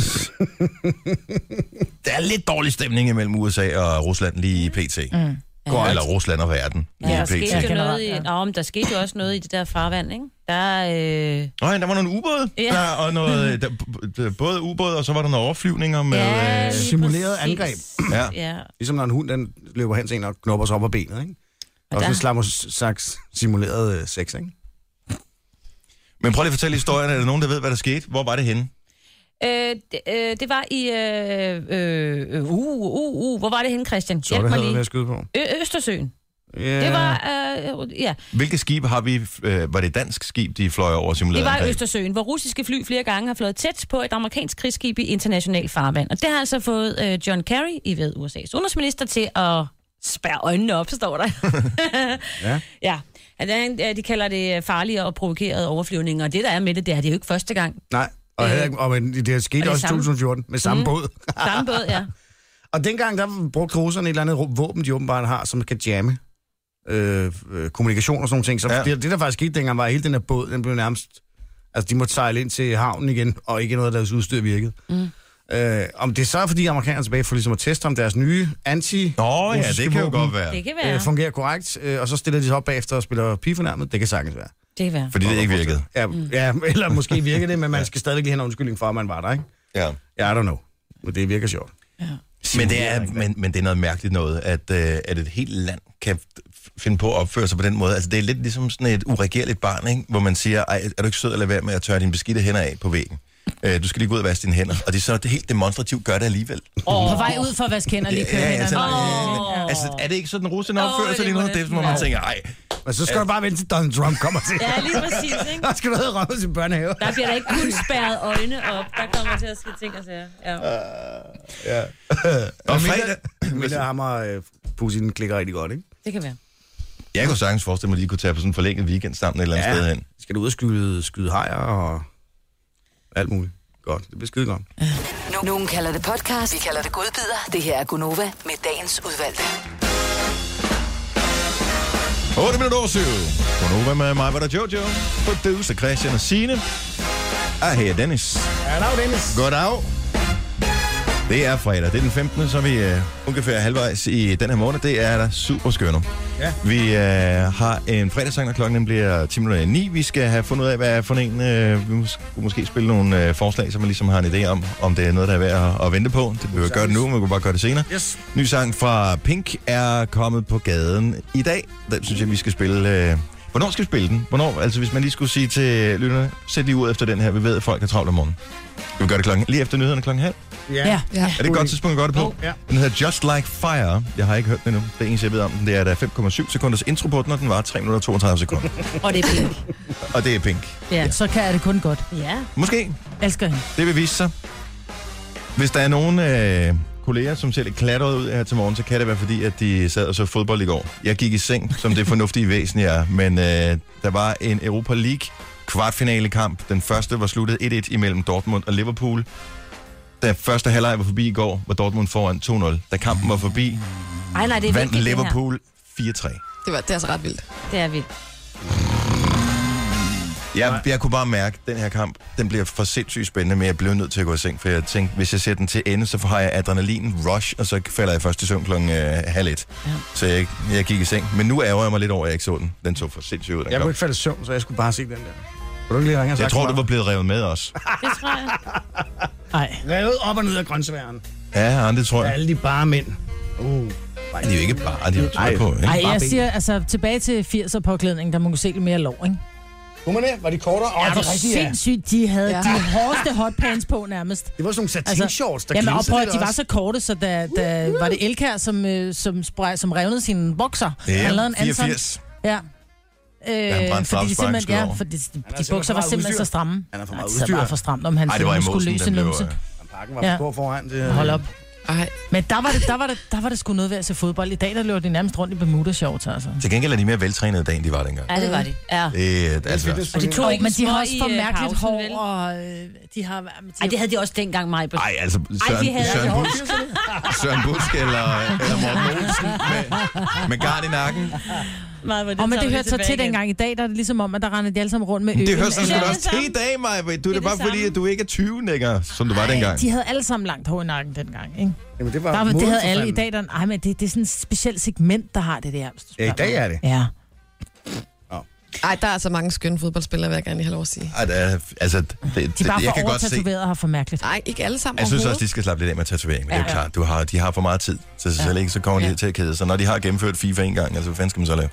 Speaker 1: der er lidt dårlig stemning imellem USA og Rusland lige i PT. Mm.
Speaker 3: Ja.
Speaker 1: Eller Rusland og verden lige
Speaker 3: ja,
Speaker 1: ja,
Speaker 3: der
Speaker 1: i
Speaker 3: skete jo
Speaker 1: PT.
Speaker 5: Ja.
Speaker 3: noget i, ja. men der skete jo også noget i det der farvand, ikke? Der, øh,
Speaker 1: Nej, der var nogle ubåde,
Speaker 3: Ja. Mm.
Speaker 1: der, og noget, der, der, både ubåde, og så var der nogle overflyvninger med...
Speaker 3: ja,
Speaker 1: øh,
Speaker 3: lige
Speaker 2: simuleret
Speaker 3: præcis.
Speaker 2: angreb.
Speaker 1: ja.
Speaker 3: Ja,
Speaker 2: Ligesom når en hund den løber hen til en og knopper sig op af benet, ikke? Og
Speaker 3: der-
Speaker 2: sådan en slags slags simuleret øh, sex, ikke?
Speaker 1: Men prøv lige at fortælle historien. Er der nogen, der ved, hvad der skete? Hvor var det henne?
Speaker 3: Øh, det, øh, det var i... Øh, øh, øh, uh, uh, uh, hvor var det henne, Christian?
Speaker 2: Så er det havde med at skyde på.
Speaker 3: Ø- Østersøen.
Speaker 2: Yeah.
Speaker 3: Ja. Det var, øh, ja,
Speaker 1: Hvilke skib har vi... Øh, var det et dansk skib, de fløj over
Speaker 3: det
Speaker 1: simuleret?
Speaker 3: var i
Speaker 1: angreb?
Speaker 3: Østersøen, hvor russiske fly flere gange har flået tæt på et amerikansk krigsskib i international farvand. Og det har altså fået øh, John Kerry, I ved, USA's udenrigsminister, til at spærre øjnene op, står der.
Speaker 2: Ja.
Speaker 3: ja. Han er en- øh, De kalder det farlige og provokerede overflyvninger, og det der er med det, det er det er jo ikke første gang.
Speaker 2: Nej, og, heller ikke, og men, det skete
Speaker 3: Øh, Og det
Speaker 2: også i
Speaker 3: samme-
Speaker 2: 2014 med samme mm. båd.
Speaker 3: Samme båd, ja.
Speaker 2: Og dengang, der brugte russerne et eller andet ru- våben, de åbenbart har, som kan jamme øh, øh, kommunikation og sådan nogle ting. Så
Speaker 1: Ja.
Speaker 2: ja. det, det, der faktisk skete dengang, var, at hele den her båd, den blev nærmest... Altså, de måtte sejle ind til havnen igen, og ikke noget af deres udstyr virkede. Mm. Øh, om det så er, fordi amerikanerne er tilbage for ligesom at teste, om deres nye anti
Speaker 1: Nå ja,
Speaker 2: russiske
Speaker 1: det kan jo
Speaker 2: våben,
Speaker 1: godt være.
Speaker 3: Det kan
Speaker 2: øh,
Speaker 3: være.
Speaker 2: fungerer korrekt, øh, og så stiller de sig op bagefter og spiller pigefornærmet. Det kan sagtens være.
Speaker 3: Det kan være.
Speaker 1: Fordi det ikke virkede.
Speaker 2: Ja, mm. ja, eller måske virker det, men man skal stadigvæk lige have en undskyldning for, at man var der, ikke?
Speaker 1: Ja.
Speaker 2: Ja, I don't know. Men det virker sjovt.
Speaker 1: Men det, er, men, men det er noget mærkeligt noget, at, øh, at et helt land kan f- finde på at opføre sig på den måde. Altså, det er lidt ligesom sådan et uregerligt barn, ikke? hvor man siger, Ej, er du ikke sød at lade være med at tørre dine beskidte hænder af på væggen? Øh, du skal lige gå ud og vaske dine hænder. Og det er så helt demonstrativt gør det alligevel.
Speaker 5: På vej ud for at vaske hænder lige køre
Speaker 1: altså,
Speaker 5: hænderne.
Speaker 1: øh, altså, er det ikke sådan, russerne opfører
Speaker 3: Åh,
Speaker 1: sig
Speaker 3: det
Speaker 1: lige nu?
Speaker 3: må
Speaker 1: Det er
Speaker 3: næsten
Speaker 1: som om man
Speaker 3: være.
Speaker 1: tænker, ej,
Speaker 2: Men så skal du bare vente til Donald Trump kommer til.
Speaker 3: Ja, lige præcis, ikke?
Speaker 2: Der skal du have rømme til børnehave.
Speaker 3: Der bliver der ikke kun spærret øjne op. Der kommer til at ske ting og sager. Ja.
Speaker 1: og
Speaker 2: mindre-
Speaker 1: fredag...
Speaker 2: Men der hammer øh, Putin klikker rigtig godt, ikke?
Speaker 3: Det kan være.
Speaker 1: Jeg kunne sagtens forestille mig, at de kunne tage på sådan en forlænget weekend sammen et eller andet sted hen.
Speaker 2: Skal du ud og skyde, skyde hajer og alt muligt. Godt, det bliver skide godt.
Speaker 7: No- Nogen kalder det podcast, vi kalder det godbider. Det her er Gunova med dagens udvalgte.
Speaker 1: 8 minutter over 7. Godnova med mig, var der Jojo. Producer Christian og Signe. Og her er Dennis.
Speaker 2: Goddag, Dennis.
Speaker 1: Goddag. Det er fredag. Det er den 15. Så er vi øh, ungefær halvvejs i den her måned. Det er da super skønt.
Speaker 2: Ja.
Speaker 1: Vi øh, har en fredagssang, og klokken den bliver 10 minutter i 9. Vi skal have fundet ud af, hvad er for en. Øh, vi mås- kunne måske spille nogle øh, forslag, så man ligesom har en idé om, om det er noget, der er værd at, at vente på. Det behøver vi gøre det nu, men vi kunne bare gøre det senere.
Speaker 2: Yes.
Speaker 1: Ny sang fra Pink er kommet på gaden i dag. Den synes jeg, vi skal spille... Øh... Hvornår skal vi spille den? Hvornår? Altså, hvis man lige skulle sige til lytterne, sæt lige ud efter den her. Vi ved, at folk er travlt om morgenen. Skal vi gøre det klokken, lige efter nyhederne klokken halv?
Speaker 5: Ja.
Speaker 4: Ja.
Speaker 1: Er det et godt tidspunkt at gøre det på?
Speaker 2: Ja.
Speaker 1: Den hedder Just Like Fire. Jeg har ikke hørt den endnu. Det eneste, jeg ved om den, det er, at der er 5,7 sekunders intro på den, og den var 3 minutter og 32 sekunder.
Speaker 3: Og det er pink.
Speaker 1: og det er Pink.
Speaker 3: Ja.
Speaker 5: Så kan jeg det kun godt.
Speaker 3: ja.
Speaker 1: Måske.
Speaker 5: Elsker hende.
Speaker 1: Det vil vise sig. Hvis der er nogen øh, kolleger, som ser lidt klatret ud her til morgen, så kan det være, fordi at de sad og så fodbold i går. Jeg gik i seng, som det fornuftige væsen jeg er, men øh, der var en Europa League kvartfinalekamp. Den første var sluttet 1-1 imellem Dortmund og Liverpool. Da første halvleg var forbi i går, var Dortmund foran 2-0. Da kampen var forbi,
Speaker 3: Ej, nej, det er
Speaker 1: vandt
Speaker 3: vigtigt,
Speaker 1: Liverpool 4-3.
Speaker 4: Det, var, det er altså ret vildt.
Speaker 3: Det, her. det er vildt.
Speaker 1: Jeg, jeg kunne bare mærke, at den her kamp, den bliver for sindssygt spændende, men jeg blev nødt til at gå i seng, for jeg tænkte, hvis jeg sætter den til ende, så har jeg adrenalin rush, og så falder jeg først i søvn klokken øh, halv et. Ja. Så jeg, jeg gik i seng. Men nu ærger jeg mig lidt over, at jeg ikke så den. Den så for sindssygt ud, den
Speaker 2: Jeg
Speaker 1: kamp.
Speaker 2: kunne ikke falde i søvn, så jeg skulle bare se den der. Kunne du ikke lige ringe
Speaker 1: Jeg
Speaker 2: og sagt
Speaker 1: tror,
Speaker 2: til
Speaker 1: det var
Speaker 2: mig?
Speaker 1: blevet revet med os.
Speaker 3: Det tror jeg.
Speaker 5: Nej.
Speaker 2: Revet op og ned af grøntsaværen.
Speaker 1: Ja, ja, det tror jeg.
Speaker 2: Alle de bare mænd. Uh.
Speaker 1: De er jo ikke bare, de er jo tøj
Speaker 2: Ej.
Speaker 1: på, ikke?
Speaker 5: Ej,
Speaker 2: Bare
Speaker 5: jeg
Speaker 2: ben.
Speaker 5: siger, altså tilbage til 80'er påklædning, der må kunne se lidt mere lov, ikke?
Speaker 2: Kunne man det? Var de kortere? Åh,
Speaker 5: Er
Speaker 2: det
Speaker 5: du
Speaker 2: er rigtigt, ja.
Speaker 5: sindssygt, de havde
Speaker 4: Ja.
Speaker 5: ja. de hårdeste hotpants på nærmest.
Speaker 2: Det var sådan nogle satin-shorts, der
Speaker 5: Altså, jamen, og
Speaker 2: glinsede
Speaker 5: prøv, at-
Speaker 2: lidt
Speaker 5: de var
Speaker 2: også.
Speaker 5: så korte, så da, da var det Elkær, som, øh, som, sprej, som revnede sine bokser. Han lavede
Speaker 1: Ja,
Speaker 5: en Anton.
Speaker 1: 84.
Speaker 5: Ja.
Speaker 1: han brændte
Speaker 5: Øh, fordi de
Speaker 1: flagsparken
Speaker 5: simpelthen,
Speaker 1: skyder
Speaker 5: ja,
Speaker 1: over.
Speaker 5: fordi de,
Speaker 2: er
Speaker 5: de
Speaker 2: simpelthen for
Speaker 5: bukser var
Speaker 2: meget
Speaker 5: simpelthen
Speaker 2: udstyr.
Speaker 5: så stramme.
Speaker 2: Han er for
Speaker 5: Ej,
Speaker 2: meget
Speaker 5: det sad
Speaker 2: udstyr.
Speaker 5: bare for stramt, om han
Speaker 1: Ej, det var
Speaker 5: simpelthen skulle
Speaker 1: Emosen,
Speaker 5: løse
Speaker 1: den blev...
Speaker 5: numse.
Speaker 1: øh,
Speaker 2: Pakken var
Speaker 5: Ja.
Speaker 2: for stor foran. Det,
Speaker 5: Hold op.
Speaker 4: Ej,
Speaker 5: Men der var, det, der, var det, der var det sgu noget ved at se fodbold. I dag, der løber de nærmest rundt i Bermuda shorts, altså.
Speaker 1: øh, Til gengæld er de mere veltrænede i dag, end de var dengang.
Speaker 3: Ja, det var det. Ja.
Speaker 1: Det, altså,
Speaker 3: Og de tog
Speaker 5: Jo,
Speaker 3: ikke
Speaker 5: men de
Speaker 3: små
Speaker 5: har også
Speaker 3: i,
Speaker 5: for
Speaker 3: øh,
Speaker 5: mærkeligt
Speaker 3: pausen,
Speaker 5: hår,
Speaker 3: vel?
Speaker 5: og øh, de har... De
Speaker 3: Ej, det havde de også dengang mig på.
Speaker 1: ej, altså Søren,
Speaker 3: de havde-
Speaker 1: Søren Busk, Søren Busk eller, eller Morten Olsen med, med garn i nakken.
Speaker 3: Meget var
Speaker 5: og men det
Speaker 3: tager vi
Speaker 5: hørte så
Speaker 3: tilbage
Speaker 5: til
Speaker 3: igen.
Speaker 5: dengang i dag, der er det ligesom om, at der render de alle sammen rundt med øl.
Speaker 1: Det hører sig sgu
Speaker 3: det
Speaker 1: da også
Speaker 3: samme.
Speaker 1: til i dag, Maja. Du er det,
Speaker 3: det
Speaker 1: bare fordi,
Speaker 3: samme.
Speaker 1: at du ikke er 20 længere, som du var dengang.
Speaker 5: De havde alle sammen langt hår i nakken dengang, ikke?
Speaker 2: Jamen, det var
Speaker 5: Der, var- det
Speaker 2: moden
Speaker 5: havde
Speaker 2: for
Speaker 5: alle i
Speaker 2: fanden.
Speaker 5: dag. Der, ej, men det, det er sådan et specielt segment, der har det der. hvis du
Speaker 2: Ja, i
Speaker 5: spørger
Speaker 2: dag
Speaker 5: mig.
Speaker 2: er det.
Speaker 5: Ja.
Speaker 1: Altså,
Speaker 4: Ej, der er altså mange skønne fodboldspillere, vil jeg gerne lige have lov at sige.
Speaker 1: Ej, der er- altså, det, det,
Speaker 5: De er bare
Speaker 1: jeg kan
Speaker 5: for
Speaker 1: godt se.
Speaker 5: overtatoveret og har for mærkeligt.
Speaker 4: Nej, ikke alle sammen
Speaker 1: Jeg synes også,
Speaker 4: overhovedet.
Speaker 1: de skal slappe lidt af med tatovering. Ja, det er jo
Speaker 4: Ja.
Speaker 1: klart, du har, de har for meget tid til sig selv, ikke? så kommer de
Speaker 4: Ja.
Speaker 1: til at kede sig. Når de har gennemført FIFA en gang, altså, hvad fanden skal man så lave?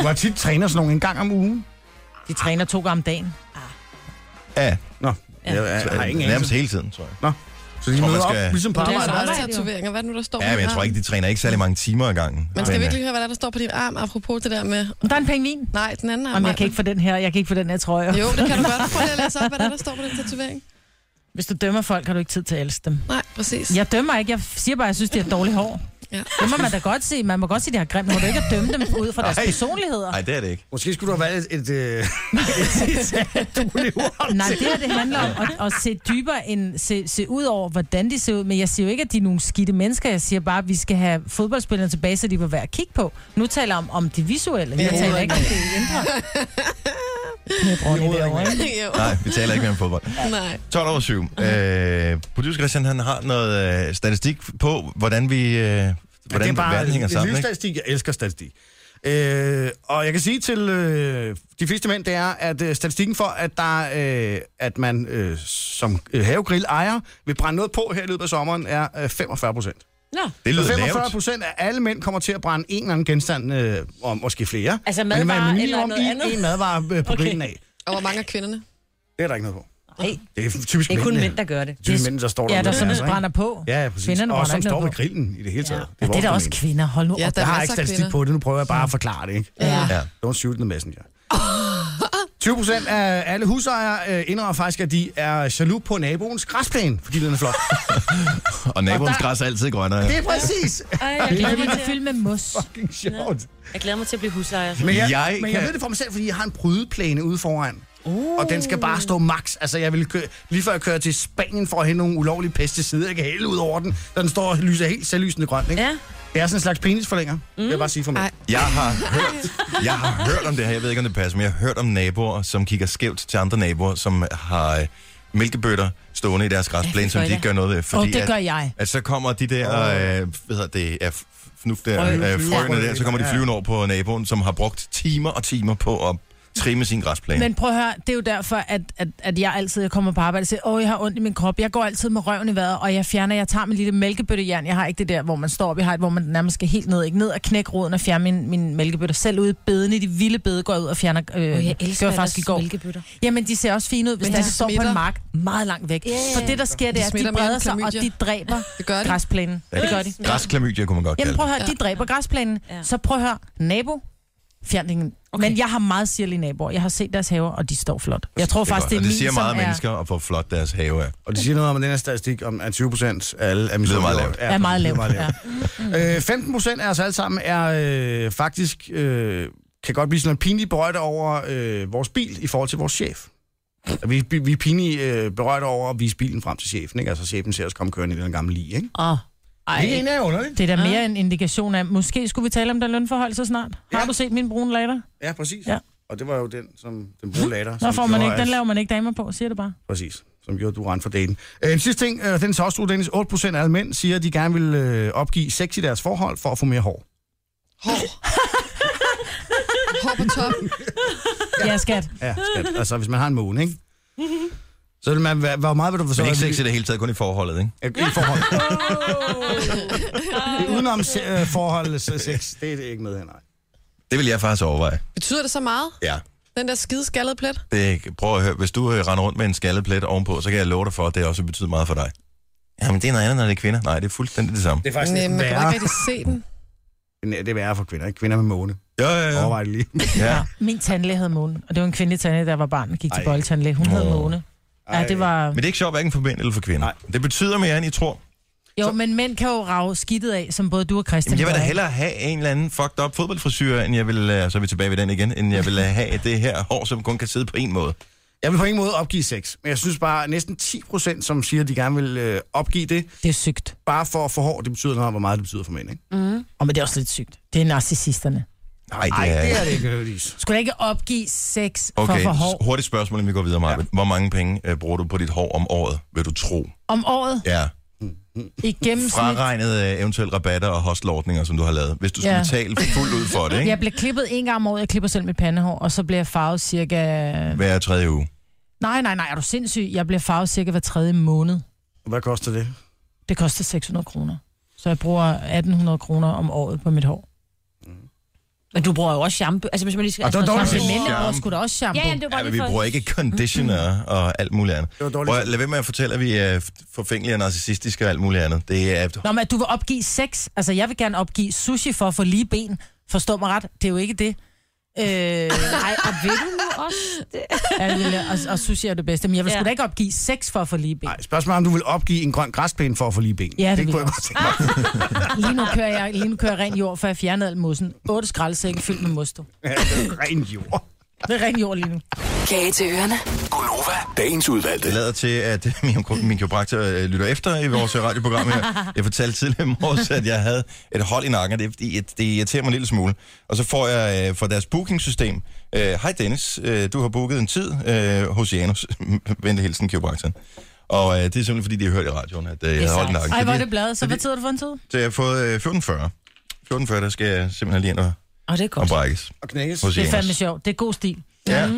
Speaker 2: Hvor tit træner sådan nogle en gang om ugen?
Speaker 5: De træner to gange om dagen.
Speaker 1: Ja,
Speaker 2: Nå, jeg, jeg,
Speaker 1: så, øh,
Speaker 2: jeg har ingen
Speaker 1: nærmest
Speaker 2: anelse.
Speaker 1: hele tiden, tror jeg.
Speaker 2: Så de
Speaker 1: Tror, man
Speaker 2: møder
Speaker 1: skal-
Speaker 2: op, ligesom på
Speaker 5: Det er
Speaker 2: arbejde.
Speaker 5: så-
Speaker 4: også
Speaker 5: arbejde, jo.
Speaker 4: tatoveringer. Hvad er det nu, der står
Speaker 1: Ja,
Speaker 4: på
Speaker 1: men
Speaker 4: din
Speaker 1: jeg tror
Speaker 4: arm?
Speaker 1: ikke, de træner ikke særlig mange timer ad gangen.
Speaker 4: Man skal
Speaker 1: Men, øh,
Speaker 4: virkelig høre, hvad der, er, der står på din arm, apropos det der med...
Speaker 5: Men Der er en pingvin.
Speaker 4: Nej, den anden arm.
Speaker 5: Jamen, jeg kan
Speaker 4: Maja.
Speaker 5: ikke få den her, jeg kan ikke få den her trøje.
Speaker 4: Jo, det kan du godt. Prøv lige at læse op, hvad der, er, der står på den tatovering.
Speaker 5: Hvis du dømmer folk, har du ikke tid til at elske dem.
Speaker 4: Nej, præcis.
Speaker 5: Jeg dømmer ikke, jeg siger bare, at jeg synes, de har dårligt hår.
Speaker 4: Ja.
Speaker 5: Det må man da godt se. Man må godt se, de har grimt. Må du ikke at dømme dem ud fra deres
Speaker 1: Ej.
Speaker 5: personligheder?
Speaker 1: Nej, det er det ikke.
Speaker 2: Måske skulle du have valgt et... øh, et ord.
Speaker 5: Nej, det her det handler om at, at se dybere end se, se ud over, hvordan de ser ud. Men jeg siger jo ikke, at de er nogle skidte mennesker. Jeg siger bare, at vi skal have fodboldspillerne tilbage, så de var værd at kigge på. Nu taler jeg om, om det visuelle. Jeg
Speaker 4: Ja.
Speaker 5: taler ikke om det indre. Med brønde derovre, ikke?
Speaker 4: jo,
Speaker 1: Nej, vi taler ikke mere om fodbold.
Speaker 4: nej.
Speaker 1: 12 over 7. Øh, producer Christian, han har noget øh, statistik på, hvordan vi... Øh, hvordan
Speaker 2: det er bare
Speaker 1: verden hænger
Speaker 2: en
Speaker 1: sammen, ikke?
Speaker 2: livsstatistik. Jeg elsker statistik. Øh, og jeg kan sige til øh, de fleste mænd, det er, at øh, statistikken for, at, der, øh, at man øh, som øh, havegrill ejer vil brænde noget på her i løbet af sommeren, er øh, 45 procent.
Speaker 3: Nå.
Speaker 1: Det
Speaker 2: Så
Speaker 1: lyder
Speaker 2: 45
Speaker 1: lavt.
Speaker 2: procent af alle mænd kommer til at brænde en eller anden genstand, øh, og måske flere.
Speaker 3: Altså
Speaker 2: Men man
Speaker 3: madvarer
Speaker 2: vil
Speaker 3: eller
Speaker 2: minimum
Speaker 3: noget
Speaker 2: en,
Speaker 3: andet?
Speaker 2: En madvarer øh, på
Speaker 3: Okay.
Speaker 2: okay. grillen af.
Speaker 4: Og hvor mange af kvinderne?
Speaker 2: Det er der ikke noget på.
Speaker 3: Nej,
Speaker 2: Det er typisk
Speaker 3: det er kun
Speaker 2: mændene.
Speaker 3: mænd, der gør det.
Speaker 2: Typisk mænd, der står der.
Speaker 5: Ja, der
Speaker 2: med
Speaker 5: sådan
Speaker 2: altså, ikke?
Speaker 5: brænder på.
Speaker 2: Ja, ja, præcis.
Speaker 5: Kvinderne
Speaker 2: og
Speaker 5: brænder
Speaker 2: som
Speaker 5: ikke
Speaker 2: står
Speaker 5: noget
Speaker 2: ved
Speaker 5: på.
Speaker 2: grillen i det hele taget.
Speaker 5: Ja, det er da også
Speaker 2: vores
Speaker 5: kvinder. Hold nu op.
Speaker 4: Ja, der
Speaker 2: Jeg
Speaker 4: er
Speaker 2: har
Speaker 4: masser
Speaker 2: ikke
Speaker 4: af
Speaker 2: statistik
Speaker 4: kvinder.
Speaker 2: på det, nu prøver jeg bare at forklare det, ikke?
Speaker 4: Ja.
Speaker 1: Ja.
Speaker 2: Don't shoot the messenger. 20 procent af alle husejere øh, indrømmer faktisk, at de er jaloux på naboens græsplæne, fordi den er flot.
Speaker 1: Og naboens græs er altid grønnere.
Speaker 2: det er præcis
Speaker 3: Ej, jeg
Speaker 5: Ja,
Speaker 3: glæder
Speaker 5: den
Speaker 3: mig
Speaker 5: er
Speaker 3: til,
Speaker 5: fyldt med mos.
Speaker 2: fucking sjovt.
Speaker 3: jeg glæder mig til at blive husejer.
Speaker 2: Men
Speaker 1: Jeg
Speaker 2: jeg, jeg, men jeg
Speaker 1: kan-
Speaker 2: ved det for mig selv, fordi jeg har en prydeplæne ude foran. Uh. Og den skal bare stå max. Altså, jeg vil køre, lige før jeg kører til Spanien for at hente nogle ulovlige pesticider, jeg kan hælde ud over den, så den står og lyser helt selvlysende grønt, ikke?
Speaker 3: Ja.
Speaker 2: Det er sådan en slags penisforlænger, mm. vil jeg bare sige for mig.
Speaker 4: Ej.
Speaker 1: Jeg har, hørt, jeg har hørt om det her, jeg ved ikke, om det passer, men jeg har hørt om naboer, som kigger skævt til andre naboer, som har øh, mælkebøtter stående i deres
Speaker 3: Ja,
Speaker 1: græsplæne,
Speaker 3: det
Speaker 1: som
Speaker 3: gør
Speaker 1: de ikke
Speaker 3: jeg.
Speaker 1: gør noget ved.
Speaker 5: Og
Speaker 1: Fordi
Speaker 5: det gør
Speaker 1: at,
Speaker 5: jeg.
Speaker 1: at så kommer de der, øh, hvad hedder det, af fnuf der,
Speaker 5: Frø.
Speaker 1: øh, frøene der,
Speaker 2: Frø.
Speaker 1: så kommer de
Speaker 2: Ja.
Speaker 1: flyvende over på naboen, som har brugt timer og timer på at trimme sin græsplæne.
Speaker 5: Men prøv at høre, det er jo derfor, at, at, at jeg altid jeg kommer på arbejde og siger, åh, jeg har ondt i min krop. Jeg går altid med røven i vejret, og jeg fjerner, jeg tager min lille mælkebøttejern. Jeg har ikke det der, hvor man står op, jeg har et, hvor man nærmest skal helt ned, ikke ned og knække roden og fjerne min, min mælkebøtte. Selv ude i beden i de vilde bede går jeg ud og fjerner. Øh,
Speaker 3: Åh, jeg
Speaker 5: det
Speaker 3: elsker
Speaker 5: var faktisk i
Speaker 3: ellers
Speaker 5: går.
Speaker 3: mælkebøtter.
Speaker 5: Jamen, de ser også fine ud, hvis
Speaker 4: Men
Speaker 5: der
Speaker 4: de
Speaker 5: de står på
Speaker 4: smitter.
Speaker 5: en mark meget langt væk.
Speaker 3: Ja, ja,
Speaker 5: For det, der sker, det er, at de
Speaker 4: smitter mere
Speaker 5: breder
Speaker 4: end
Speaker 5: sig, og
Speaker 4: klamydia.
Speaker 5: de dræber
Speaker 4: Det gør det.
Speaker 5: græsplænen. Det gør de.
Speaker 1: Græsklamydia kunne man godt
Speaker 5: Jamen
Speaker 1: kalde
Speaker 5: prøv
Speaker 1: det.
Speaker 5: at høre, de dræber græsplænen.
Speaker 3: Ja.
Speaker 5: Så prøv at høre, nabo, fjern den.
Speaker 3: Okay.
Speaker 5: Okay. Men jeg har meget sirlige naboer. Jeg har set deres haver, og de står flot. Jeg tror
Speaker 1: Det er
Speaker 5: faktisk,
Speaker 1: godt,
Speaker 5: det er
Speaker 1: og det
Speaker 5: min,
Speaker 1: siger
Speaker 5: som
Speaker 1: meget om
Speaker 5: er,
Speaker 1: mennesker, og hvor flot deres have er.
Speaker 2: Og det siger noget om at den her statistik, om at 20 procent af alle er
Speaker 1: meget
Speaker 2: misundelige.
Speaker 1: lavt.
Speaker 5: er meget lav. Ja. Mm.
Speaker 2: Øh, 15 procent af os alle sammen er øh, faktisk, øh, kan godt blive sådan en pinlig berørt over øh, vores bil i forhold til vores chef. Og Vi, vi er pinligt øh, berørt over at vise bilen frem til chefen, ikke? Altså chefen ser os komme kørende i den gamle lige, ikke?
Speaker 5: Åh,
Speaker 2: Ej. Det ene er underligt.
Speaker 5: Det er da mere en indikation af, måske skulle vi tale om den lønforhold så snart. Har
Speaker 2: Ja.
Speaker 5: du set min brune later?
Speaker 2: Ja, præcis.
Speaker 5: Ja.
Speaker 2: Og det var jo den, som den brune later.
Speaker 5: Så
Speaker 2: som
Speaker 5: får man
Speaker 2: gjorde,
Speaker 5: ikke,
Speaker 2: at-
Speaker 5: den laver man ikke damer på, siger det bare.
Speaker 2: Præcis. Som gjorde, at du rendte for daten. Øh, en sidste ting, øh, den tager også du, Dennis. 8% af alle mænd siger, at de gerne vil øh, opgive sex i deres forhold for at få mere hår.
Speaker 4: Hår. Hår på toppen.
Speaker 5: Ja, skat.
Speaker 2: Ja, skat. altså hvis man har en måne, ikke? Så vil man, være- hvor meget vil du så...
Speaker 1: Men ikke sex i det hele taget, kun i forholdet, ikke?
Speaker 2: I forhold. Udenom se- øh, forhold, så sex, det er det ikke med her, nej.
Speaker 1: Det vil jeg faktisk overveje.
Speaker 4: Betyder det så meget?
Speaker 1: Ja.
Speaker 4: Den der skide skaldede plet?
Speaker 1: Det, prøv at høre, hvis du øh, render rundt med en skaldet plet ovenpå, så kan jeg love dig for, at det også betyder meget for dig. Jamen, det er noget andet, når det er kvinder. Nej, det er fuldstændig det samme.
Speaker 2: Det er
Speaker 4: Nej,
Speaker 2: faktisk
Speaker 4: man
Speaker 2: næsten
Speaker 4: kan bare
Speaker 2: værre.
Speaker 4: ikke rigtig se den.
Speaker 2: Nej, Det er værre for kvinder, ikke? Kvinder med måne.
Speaker 1: Ja, ja, ja.
Speaker 2: Overvej det lige.
Speaker 1: ja.
Speaker 5: Min tandlæge havde måne, og det var en kvindelig tandlæge, der var barn og gik til
Speaker 2: Ej.
Speaker 5: bøjletandlæge. Hun havde
Speaker 1: Åh.
Speaker 5: måne. Ja, det
Speaker 1: Men
Speaker 5: var...
Speaker 1: det er ikke sjovt, hverken for mænd eller for kvinder. Nej.
Speaker 2: Nej.
Speaker 1: Det betyder mere, end I tror.
Speaker 5: Jo, men mænd kan jo rave skidtet af, som både du og Christian
Speaker 1: Jamen, jeg vil da
Speaker 5: gør, ikke?
Speaker 1: hellere have en eller anden fucked up fodboldfrisyr, end jeg vil, øh, så er vi tilbage ved den igen, end jeg vil øh, have det her hår, som kun kan sidde på en måde.
Speaker 2: Jeg vil på ingen måde opgive sex, men jeg synes bare, at næsten 10 procent, som siger, at de gerne vil øh, opgive det,
Speaker 5: Det er sygt.
Speaker 2: bare for at få hår, det betyder noget om, hvor meget det betyder for mænd, ikke?
Speaker 5: Og men det er også lidt sygt. Det er narcissisterne.
Speaker 1: Nej, det
Speaker 2: Nej,
Speaker 1: er,
Speaker 2: det er det ikke, Hølis.
Speaker 5: Skulle da ikke opgive sex okay. for
Speaker 1: Okay,
Speaker 5: for
Speaker 1: s-
Speaker 5: hår
Speaker 1: hurtigt spørgsmål, inden vi går videre, Maja. Ja. Hvor mange penge øh, bruger du på dit hår om året, vil du tro?
Speaker 5: om året
Speaker 1: Ja,
Speaker 5: i gennemsnit?
Speaker 1: fraregnet øh, eventuelle rabatter og hostelordninger, som du har lavet. Hvis du skulle
Speaker 5: Ja.
Speaker 1: betale fuldt ud for det, ikke?
Speaker 5: Jeg bliver klippet en gang om året, jeg klipper selv mit pandehår, og så bliver jeg farvet cirka...
Speaker 1: Hver tredje uge.
Speaker 5: Nej, nej, nej, er du sindssyg? Jeg bliver farvet cirka hver tredje måned.
Speaker 2: Hvad koster det?
Speaker 5: Det koster 600 kroner. Så jeg bruger 1800 kroner om året på mit hår.
Speaker 3: Men du bruger jo også shampoo. Altså, hvis man lige skal...
Speaker 2: Og det var
Speaker 3: altså,
Speaker 2: dårligt
Speaker 5: Men
Speaker 2: Shampoo.
Speaker 5: mænd
Speaker 1: Shampoo.
Speaker 5: bruger sgu da også shampoo.
Speaker 3: Ja, ja, det var
Speaker 1: Ja,
Speaker 3: bare
Speaker 1: men
Speaker 3: lige
Speaker 1: vi
Speaker 3: for...
Speaker 1: bruger ikke conditioner og alt muligt andet.
Speaker 2: Det var dårligt.
Speaker 1: Prøv at lade være med at fortælle, at vi er forfængelige og narcissistiske og alt muligt andet. Det er...
Speaker 5: Nå, men at du vil opgive sex. Altså, jeg vil gerne opgive sushi for at få lige ben. Forstå mig ret, det er jo ikke det. Øh, nej, og vil du nu også det? Ja, lille, og, og sushi er det bedste. Men jeg vil ja.
Speaker 3: Ja.
Speaker 5: sgu da ikke opgive sex for at få lige ben.
Speaker 2: Nej, spørgsmålet er, om du vil opgive en grøn græsplæne for at få lige ben.
Speaker 5: Ja, det vil
Speaker 2: kunne
Speaker 5: jeg
Speaker 2: jeg godt tænke mig.
Speaker 5: Lige nu kører jeg, lige nu kører jeg ren jord, for jeg fjernede al mossen. Otte skraldesække fyldt med mosto.
Speaker 2: Ja, det er Ren jord.
Speaker 5: Det er ren jord lige nu.
Speaker 7: Kage til ørerne.
Speaker 6: Gunova, dagens udvalgte.
Speaker 1: Det lader til, at min, min kiropraktor øh, lytter efter i vores radioprogram her. Jeg fortalte tidligere i morges, at jeg havde et hold i nakken, og det, er fordi, at det irriterer mig en lille smule. Og så får jeg øh, fra deres bookingsystem, øh, hej Dennis, øh, du har booket en tid øh, hos Janus. Vente hilsen, kiropraktoren. Og øh, det er simpelthen, fordi de har hørt i radioen, at øh, jeg havde hold i nakken.
Speaker 5: Ej,
Speaker 1: Så
Speaker 5: hvor er
Speaker 1: de-
Speaker 5: det bladet. Så hvad tid har du for en tid?
Speaker 1: Så jeg har fået øh, 14.40. 14.40, der skal jeg simpelthen lige ind og,
Speaker 3: Åh, det er
Speaker 1: og
Speaker 3: godt.
Speaker 1: brækkes.
Speaker 2: Og knækkes.
Speaker 1: Hos
Speaker 5: Det er
Speaker 1: Janus.
Speaker 5: fandme Mm. sjovt. Det er god stil.
Speaker 1: Ja.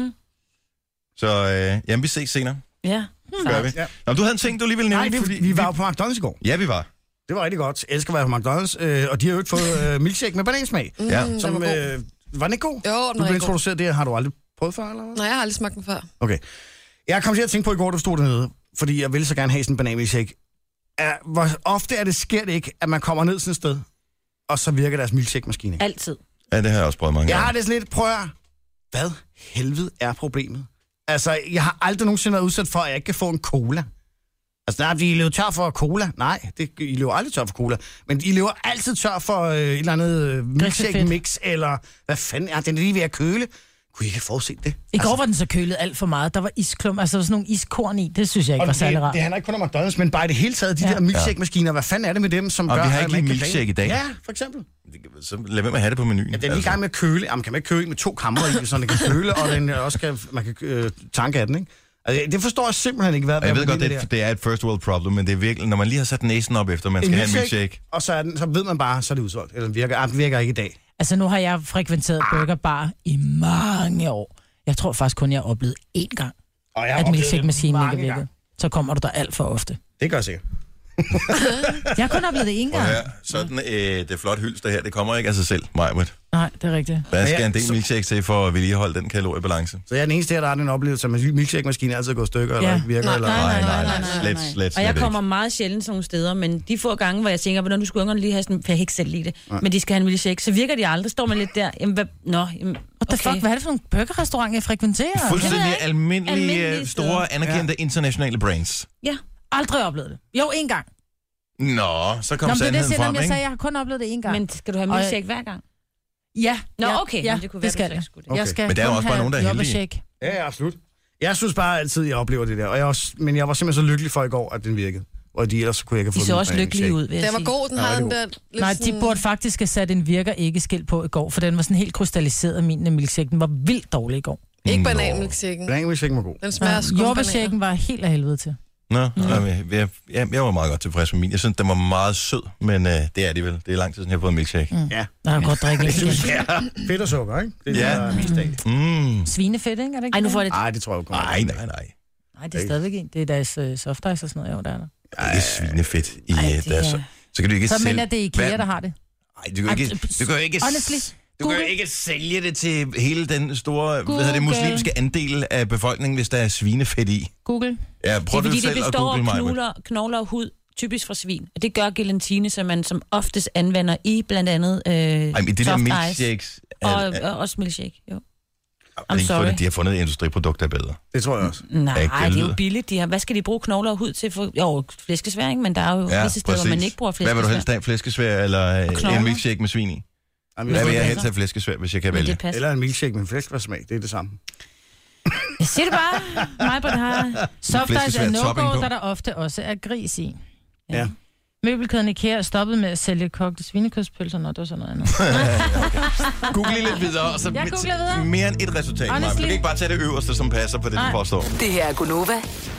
Speaker 1: Så øh, jamen, vi ses senere.
Speaker 5: Hmm.
Speaker 3: Ja.
Speaker 1: Gør vi.
Speaker 2: Ja.
Speaker 1: Nå, men du havde en ting, du lige ville nævne.
Speaker 2: Nej, det, er fordi, vi var jo på McDonald's i går.
Speaker 1: Ja, vi var.
Speaker 2: Det var rigtig godt. Jeg elsker at være på McDonald's. Øh, og de har jo ikke fået øh, milkshake med banansmag.
Speaker 1: Ja.
Speaker 4: Mm,
Speaker 2: Som,
Speaker 4: den var god.
Speaker 2: øh, var den ikke god?
Speaker 4: Jo, den
Speaker 2: Du
Speaker 4: var
Speaker 2: blev
Speaker 4: rigtig god.
Speaker 2: introduceret det, har du aldrig prøvet før, eller hvad?
Speaker 4: Nej, jeg har aldrig smagt den før.
Speaker 2: Okay. Jeg kom til at tænke på i går, da du stod dernede, fordi jeg ville så gerne have sådan en bananmilkshake. Er, hvor ofte er det, sker det ikke, at man kommer ned sådan et sted, og så virker deres milkshake-maskine ikke?
Speaker 3: Altid.
Speaker 1: Ja, det har jeg også prøvet mange
Speaker 2: Jeg har
Speaker 1: gange.
Speaker 2: det sådan lidt, prøv at høre. hvad helvede er problemet? Altså, jeg har aldrig nogensinde været udsat for, at jeg ikke kan få en cola. Altså, nej, fordi I lever tør for cola. Nej, det, I lever aldrig tør for cola. Men I lever altid tør for øh, et eller andet øh, milkshake
Speaker 5: Griffefedt.
Speaker 2: mix, eller hvad fanden er den er lige ved at køle? Kunne I ikke have forudset det?
Speaker 5: I går altså, var den så kølet alt for meget. Der var isklum, altså der var sådan nogle iskorn i. Det synes jeg ikke var
Speaker 2: Og
Speaker 5: særlig
Speaker 2: det,
Speaker 5: rart.
Speaker 2: det handler ikke kun om McDonald's, men bare i det hele taget, de ja.
Speaker 5: Ja.
Speaker 2: der milkshake-maskiner, hvad fanden er det med dem, som
Speaker 1: Og
Speaker 2: gør,
Speaker 1: vi har
Speaker 2: at
Speaker 1: ikke
Speaker 2: man
Speaker 1: lige
Speaker 2: kan
Speaker 1: milkshake i dag.
Speaker 2: Ja, for eksempel.
Speaker 1: Så lad være med at have det på menuen. Altså,
Speaker 2: Ja, den er lige i gang med at køle. Jamen, kan man ikke køle med to kamre i, så den kan køle, og den også kan, man kan øh, tanke af den, ikke? Altså, det forstår jeg simpelthen ikke, hvad
Speaker 1: Og jeg
Speaker 2: hvad
Speaker 1: ved godt,
Speaker 2: problemet
Speaker 1: det, er- det er et first world problem, men det er virkelig, når man lige har sat næsen op efter, man
Speaker 2: En
Speaker 1: skal have en milkshake.
Speaker 2: og så, er den, så ved man bare, så er det udsolgt. Eller den virker, ah, den virker ikke i dag.
Speaker 5: Altså nu har jeg frekventeret Burger Bar i mange år. Jeg tror faktisk kun, jeg har oplevet én gang,
Speaker 2: Og jeg har
Speaker 5: at
Speaker 2: oplevet
Speaker 5: milkshake-maskinen
Speaker 2: mange
Speaker 5: ikke virkede.
Speaker 2: gange.
Speaker 5: Så kommer du der alt for ofte.
Speaker 2: Det gør jeg sikkert.
Speaker 5: Jeg har kun oplevet det én
Speaker 1: Prøv
Speaker 5: gang.
Speaker 1: at høre, sådan øh, det flot hylster her, det kommer ikke af sig selv, Majbert.
Speaker 5: Nej, det er rigtigt.
Speaker 1: Der
Speaker 2: Ja,
Speaker 1: skal en del
Speaker 2: så-
Speaker 1: milkshake til for at vedligeholde den kaloriebalance.
Speaker 2: Så jeg er den eneste her, der har den oplevelse, at en milkshake-maskine altid går i stykker, eller
Speaker 5: Ja.
Speaker 2: ikke virker, eller...
Speaker 1: nej, nej,
Speaker 3: nej,
Speaker 1: nej,
Speaker 3: nej,
Speaker 1: slet,
Speaker 3: nej.
Speaker 1: slet,
Speaker 3: Og jeg
Speaker 1: slet
Speaker 3: kommer meget sjældent sådan nogle steder, men de få gange, hvor jeg tænker, hvordan du skulle ungerne lige have sådan, for jeg kan ikke selv lide det, men de skal have en milkshake, så virker de aldrig. Står man lidt der, jamen hvad, nå, jamen,
Speaker 5: What the okay. fuck, hvad er det for nogle burgerrestauranter, jeg frekventerer?
Speaker 3: Det ved
Speaker 1: Fuldstændig
Speaker 3: jeg ikke.
Speaker 1: almindelige,
Speaker 3: Almindelige
Speaker 1: øh, store, anerkendte internationale brands.
Speaker 3: Ja,
Speaker 5: Aldrig oplevet det. Jo, én gang.
Speaker 1: Nå, så kom
Speaker 5: Nå, men det er det,
Speaker 1: sandheden
Speaker 5: selvom
Speaker 1: frem,
Speaker 5: jeg
Speaker 1: ikke?
Speaker 5: sagde, jeg har kun oplevet det én gang.
Speaker 3: men skal du have
Speaker 5: Og-
Speaker 3: milkshake hver gang?
Speaker 5: ja.
Speaker 3: Nå,
Speaker 5: ja,
Speaker 3: okay,
Speaker 5: ja,
Speaker 3: men det kunne være,
Speaker 5: skal
Speaker 3: du så
Speaker 5: jeg.
Speaker 3: ikke skulle det.
Speaker 5: Jeg skal
Speaker 1: Men der er
Speaker 5: kun
Speaker 1: også bare
Speaker 5: have
Speaker 1: nogen, der er heldige.
Speaker 5: loppeshake.
Speaker 2: Ja, ja, absolut. Jeg synes bare altid, jeg oplever det der. Og jeg er også, men jeg var simpelthen så lykkelig for i går, at den virkede. Og de ellers kunne jeg ikke
Speaker 3: De
Speaker 2: have
Speaker 3: så
Speaker 2: fået
Speaker 3: også lykkelige ud, vil jeg
Speaker 4: Den var
Speaker 3: sige.
Speaker 4: god, den
Speaker 2: Ja,
Speaker 4: havde
Speaker 2: det
Speaker 4: den
Speaker 2: var
Speaker 4: der... Lidt
Speaker 5: Nej, de burde faktisk have sat en virker ikke skilt på i går, for den var sådan helt krystalliseret, min milkshake. Den var vildt dårlig i går.
Speaker 4: Ikke
Speaker 1: Nå.
Speaker 4: bananmilkshaken.
Speaker 2: Blank var god.
Speaker 4: Den smager skum
Speaker 5: Jordbærshaken var helt af helvede til.
Speaker 1: Nå, jamen, jeg, jeg, jeg var meget godt tilfreds med min. Jeg synes, den var meget sød, men øh, det er det vel. Det er lang tid siden, jeg har fået en milkshake. Mm.
Speaker 2: Ja.
Speaker 5: Nå, jeg kan godt drikke
Speaker 2: Det
Speaker 5: lidt.
Speaker 2: synes jeg. Fedt og sukker, ikke? Det
Speaker 1: Ja.
Speaker 2: er mest af.
Speaker 1: Mm.
Speaker 5: Svinefedt, ikke? Er det ikke
Speaker 3: Ej, nu får jeg det.
Speaker 2: Nej, det tror jeg jo
Speaker 1: Nej, nej, nej.
Speaker 5: Nej, det er stadigvæk en. Det er deres øh, softice og sådan noget. Jo, der er der.
Speaker 1: Det er svinefedt i
Speaker 3: Ej,
Speaker 1: Ej,
Speaker 3: det
Speaker 1: deres...
Speaker 3: er-
Speaker 1: Så kan du ikke
Speaker 5: Så
Speaker 1: sælge...
Speaker 5: mener det er IKEA,
Speaker 1: Hvad-
Speaker 5: der har det.
Speaker 1: Ej, du kan jo ikke, du kan jo ikke,
Speaker 5: Honestly,
Speaker 1: du kan jo
Speaker 5: Google.
Speaker 1: ikke sælge det til hele den store hvad hedder det,
Speaker 5: Google.
Speaker 1: muslimske andel af befolkningen, hvis der er svinefedt i.
Speaker 5: Google.
Speaker 1: Ja,
Speaker 3: Det er
Speaker 1: prøv det,
Speaker 3: fordi,
Speaker 1: det
Speaker 3: det
Speaker 1: selv at
Speaker 3: består
Speaker 1: google
Speaker 3: af
Speaker 1: mig.
Speaker 3: knogler, knogler og hud, typisk fra svin. Og det gør gelatine, som man som oftest anvender i blandt andet øh,
Speaker 1: Ej, men det der
Speaker 3: soft ice.
Speaker 1: milkshakes... er-
Speaker 3: Og,
Speaker 1: er-
Speaker 3: og også milkshake, jo.
Speaker 1: er ikke
Speaker 3: sorry.
Speaker 1: fundet- De har fundet et industriprodukt, der er bedre.
Speaker 2: Det tror jeg også.
Speaker 3: Nej,
Speaker 1: ikke
Speaker 3: det er jo
Speaker 1: lyder.
Speaker 3: billigt. De har, hvad skal de bruge knogler og hud til? For, jo, flæskesvær, ikke? Men der er jo ja, visse steder, hvor man ikke bruger
Speaker 1: Hvad
Speaker 3: flæskesvær.
Speaker 1: vil du helst have? Flæskesvær eller øh,
Speaker 3: knogler.
Speaker 1: en milkshake med svin i?
Speaker 2: Jamen,
Speaker 1: Hvad vil jeg
Speaker 2: jeg
Speaker 1: helst have flæskesvær, hvis jeg kan
Speaker 3: Men
Speaker 1: vælge?
Speaker 3: det passer.
Speaker 2: Eller en milkshake med flæskesmag, det er det samme.
Speaker 3: Jeg siger det bare. Mig på det her.
Speaker 5: Softice
Speaker 1: flæskesvær
Speaker 5: er
Speaker 1: topping på.
Speaker 5: no-go, der der ofte også er gris i.
Speaker 2: Ja. ja.
Speaker 5: Møbelkæden IKEA er stoppet med at sælge kogte svinekødspølser, når det var sådan noget andet.
Speaker 1: Google lige lidt videre, og så
Speaker 5: Jeg googler videre.
Speaker 1: mere end et resultat. Maja. Du
Speaker 5: Honestly.
Speaker 1: kan ikke bare tage det øverste, som passer på det, du
Speaker 5: Nej.
Speaker 1: påstår.
Speaker 7: Det her er Gunova.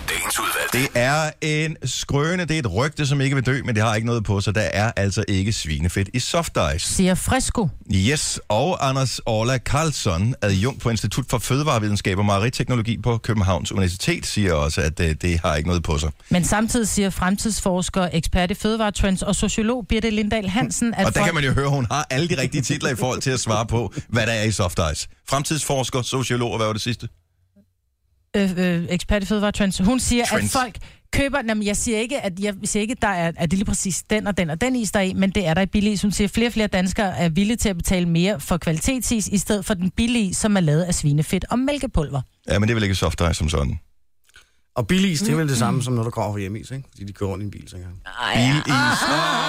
Speaker 6: Dagens udvalgte.
Speaker 1: Det er en skrøne, det er et rygte, som ikke vil dø, men det har ikke noget på sig. Der er altså ikke svinefedt i soft ice.
Speaker 5: Siger Fresco.
Speaker 1: Yes, og Anders Orla Karlsson, adjunkt på Institut for Fødevarevidenskab og Mejeriteknologi på Københavns Universitet, siger også, at øh, det har ikke noget på sig.
Speaker 5: Men samtidig siger fremtidsforsker, ekspert i fødevaretrends og sociolog Birte Lindahl Hansen, at
Speaker 1: Og der
Speaker 5: folk-
Speaker 1: kan man jo høre, at hun har alle de rigtige titler i forhold til at svare på, hvad der er i soft ice. Fremtidsforsker, sociolog og hvad var det sidste?
Speaker 5: øh, øh, ekspert i fødevaretrends, hun siger,
Speaker 1: Trends.
Speaker 5: at folk køber... Jamen, jeg siger ikke, at jeg siger ikke, der er, at det lige præcis den og den og den is, der er i, men det er der i billig is. Hun siger, at flere og flere danskere er villige til at betale mere for kvalitetsis, i stedet for den billige is, som er lavet af svinefedt og mælkepulver.
Speaker 1: Ja, men det er vel ikke soft ice som sådan.
Speaker 2: Og billig is, det er vel det samme som når du kommer fra hjemmeis, ikke? Fordi de kører rundt i en bil, så kan
Speaker 1: Bilis.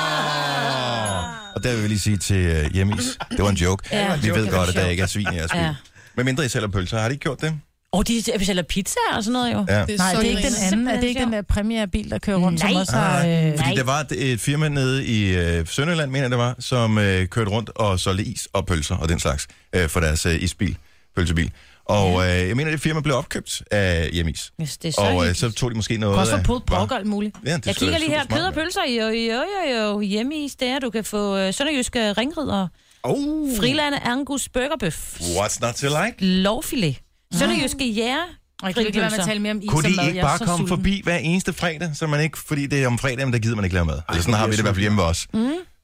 Speaker 1: Oh. Og der vil jeg lige sige til øh, Hjemmis, det var en joke.
Speaker 3: Ah. Ja, det var
Speaker 1: Ja,
Speaker 3: en
Speaker 1: Vi
Speaker 3: joke,
Speaker 1: ved
Speaker 3: det var
Speaker 1: godt, at der
Speaker 3: sjovt.
Speaker 1: ikke er svin i jeres bil.
Speaker 3: Ja.
Speaker 1: Men mindre I sælger pølser, har de ikke gjort det?
Speaker 3: Og de sælger pizza og sådan noget jo.
Speaker 1: Ja.
Speaker 4: Det er
Speaker 5: Nej,
Speaker 4: så
Speaker 5: det er ikke den
Speaker 4: grinerende.
Speaker 5: anden. Er
Speaker 3: Simpelthen
Speaker 5: det ikke den der premierbil, der kører rundt, som
Speaker 3: Nej.
Speaker 5: også har... Øh,
Speaker 1: Fordi
Speaker 3: Nej.
Speaker 1: der var et firma nede i øh, Sønderland, mener jeg det var, som øh, kørte rundt og solgte is og pølser og den slags øh, for deres øh, isbil, pølsebil. Og øh, jeg mener, det firma blev opkøbt af Hjemmis.
Speaker 3: Yes, det er så
Speaker 1: Og øh,
Speaker 3: hyggeligt.
Speaker 1: så tog de måske noget
Speaker 5: også for
Speaker 1: af-
Speaker 5: pulled pork
Speaker 1: var-
Speaker 5: og alt muligt.
Speaker 1: Ja, det
Speaker 3: Jeg
Speaker 1: er
Speaker 3: kigger
Speaker 1: sgu
Speaker 3: lige
Speaker 1: da
Speaker 3: her.
Speaker 1: super
Speaker 3: Kød og
Speaker 1: smart,
Speaker 3: pølser, jo, jo, jo, jo. Hjemme i steder, du kan få øh, sønderjyske ringridder.
Speaker 2: oh.
Speaker 3: Frilande Angus burgerbøf.
Speaker 1: mand. What's not to like?
Speaker 3: Lovfilet. Sønderjyske jæger.
Speaker 5: Og jeg kan ikke lade være med at tale mere om is
Speaker 1: Kunne
Speaker 5: og
Speaker 1: de
Speaker 5: mad.
Speaker 1: ikke
Speaker 5: Jeg er
Speaker 1: bare
Speaker 5: så
Speaker 1: komme
Speaker 5: sulten.
Speaker 1: forbi hver eneste fredag, så man ikke, fordi det er om fredagen, der gider man ikke lave mad. Eller sådan har vi det i hvert fald hjemme ved os.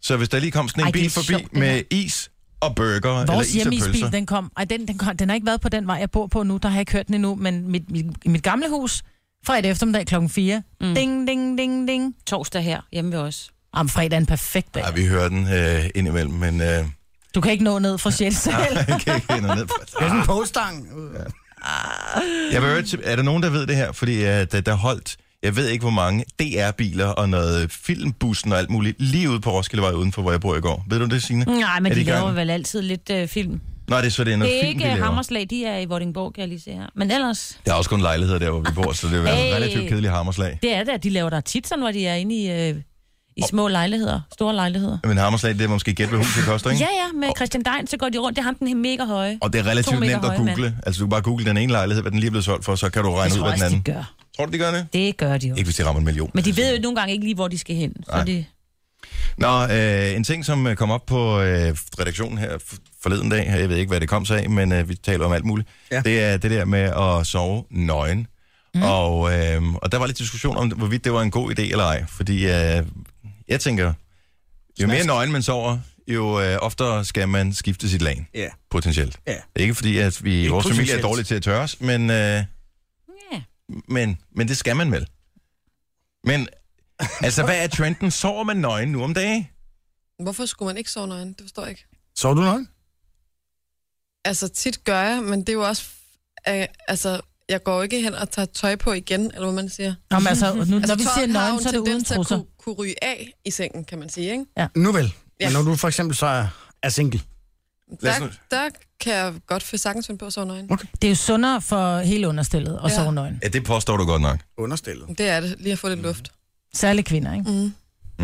Speaker 1: Så hvis der lige kom sådan en
Speaker 5: Mm. Ej, det er
Speaker 1: bil forbi
Speaker 5: sjovt, det
Speaker 1: med is og burger, eller
Speaker 5: Vores
Speaker 1: is og pølser.
Speaker 5: hjemmeisbil, den kom, ej, den, den kom, den har ikke været på den vej, jeg bor på nu, der har jeg ikke hørt den endnu, men mit, mit, mit gamle hus, fredag eftermiddag klokken 4, mm. ding, ding, ding, ding.
Speaker 3: Torsdag her hjemme ved os.
Speaker 5: Om fredag er en perfekt dag.
Speaker 1: Ej, vi hører den øh, indimellem, men øh,
Speaker 5: Du kan ikke nå ned fra 6. sal.
Speaker 1: Jeg kan ikke nå ned på.
Speaker 2: Det er sådan en postang.
Speaker 1: Jeg vil, høre til- er der nogen, der ved det her? Fordi uh, der, der holdt, jeg ved ikke hvor mange, DR-biler og noget filmbussen og alt muligt, lige ude på Roskildevej udenfor, hvor jeg bor i går. Ved du det, Signe?
Speaker 5: Mm.
Speaker 3: Nej, men
Speaker 1: Er
Speaker 3: de
Speaker 1: de i gang?
Speaker 3: laver vel altid lidt øh, film.
Speaker 1: Nå, det er så det er noget
Speaker 3: Det er
Speaker 1: film, de
Speaker 3: ikke
Speaker 1: laver.
Speaker 3: Hammerslag, de er i Vordingborg, kan jeg lige se her. Men ellers,
Speaker 1: Der er også kun lejligheder der, hvor vi bor, så det er jo hey.
Speaker 3: Hey.
Speaker 1: relativt kedeligt hammerslag.
Speaker 3: det er det, at de laver der tit sådan, hvor de er inde i, øh, i små lejligheder, store lejligheder.
Speaker 1: Men hammerslag, det er måske gæt, hvad huset koster, ikke?
Speaker 3: Ja, ja, med Christian Dein, så går de rundt. Det er ham, den her mega høje.
Speaker 1: Og det er
Speaker 3: To
Speaker 1: relativt
Speaker 3: meter
Speaker 1: nemt at
Speaker 3: høje mand.
Speaker 1: google. Altså, du kan bare google den ene lejlighed, hvad den lige er blevet solgt for, så kan du
Speaker 3: det
Speaker 1: regne ud,
Speaker 3: tror jeg
Speaker 1: hvad den
Speaker 3: også,
Speaker 1: anden.
Speaker 3: de gør.
Speaker 1: Tror du, de gør det?
Speaker 3: Det gør de jo.
Speaker 1: Ikke hvis de rammer en million.
Speaker 3: Men de ved jo nogle gange ikke lige, hvor de skal hen.
Speaker 1: Nej. Mm.
Speaker 3: Så de,
Speaker 1: Nå, øh, en ting, som øh, kom op på øh, redaktionen her f- forleden dag, jeg ved ikke, hvad det kom sig af, men øh, vi taler om alt muligt, ja.
Speaker 2: Ja.
Speaker 1: det er det der med at sove nøgen. Mm. Og, øh, og der var lidt diskussion om, hvorvidt det var en god idé eller ej, fordi øh, jeg tænker, jo mere nøgen man sover, jo øh, oftere skal man skifte sit lag,
Speaker 2: Ja.
Speaker 1: potentielt.
Speaker 2: Ja.
Speaker 1: Ikke fordi, at vi i vores familie er
Speaker 2: potentielt.
Speaker 1: dårlige til at tørre os, men, øh,
Speaker 3: ja.
Speaker 1: men, men det skal man vel. Men altså, hvad er trenden? Sover man nøgen nu om dagen?
Speaker 4: Hvorfor skulle man ikke sove nøgen? Det forstår jeg ikke.
Speaker 2: Sov du nøgen?
Speaker 4: Altså, tit gør jeg, men det er jo også... Øh, altså, jeg går jo ikke hen og tager tøj på igen, eller hvad man siger.
Speaker 5: Nå, men altså, nu, altså, når
Speaker 4: Altså,
Speaker 5: vi
Speaker 4: tøjet
Speaker 5: siger
Speaker 4: har jo
Speaker 5: nøgen,
Speaker 4: en
Speaker 5: så er det uden
Speaker 4: tendens til at
Speaker 5: trusser.
Speaker 4: Kunne, kunne ryge af i sengen, kan man sige, ikke?
Speaker 2: Nu vel.
Speaker 4: Ja.
Speaker 2: Men når du for eksempel så er, er single.
Speaker 1: Lad os nu-
Speaker 4: Der, der kan jeg godt få sagtens finde på at sove nøgen.
Speaker 5: Det er jo sundere for hele understillet at
Speaker 4: Ja.
Speaker 5: sove nøgen.
Speaker 1: Ja, det påstår du godt nok.
Speaker 2: Understillet.
Speaker 4: Det er det, lige at få
Speaker 1: Mm.
Speaker 4: lidt luft.
Speaker 5: Særligt kvinder, ikke?
Speaker 4: Mm.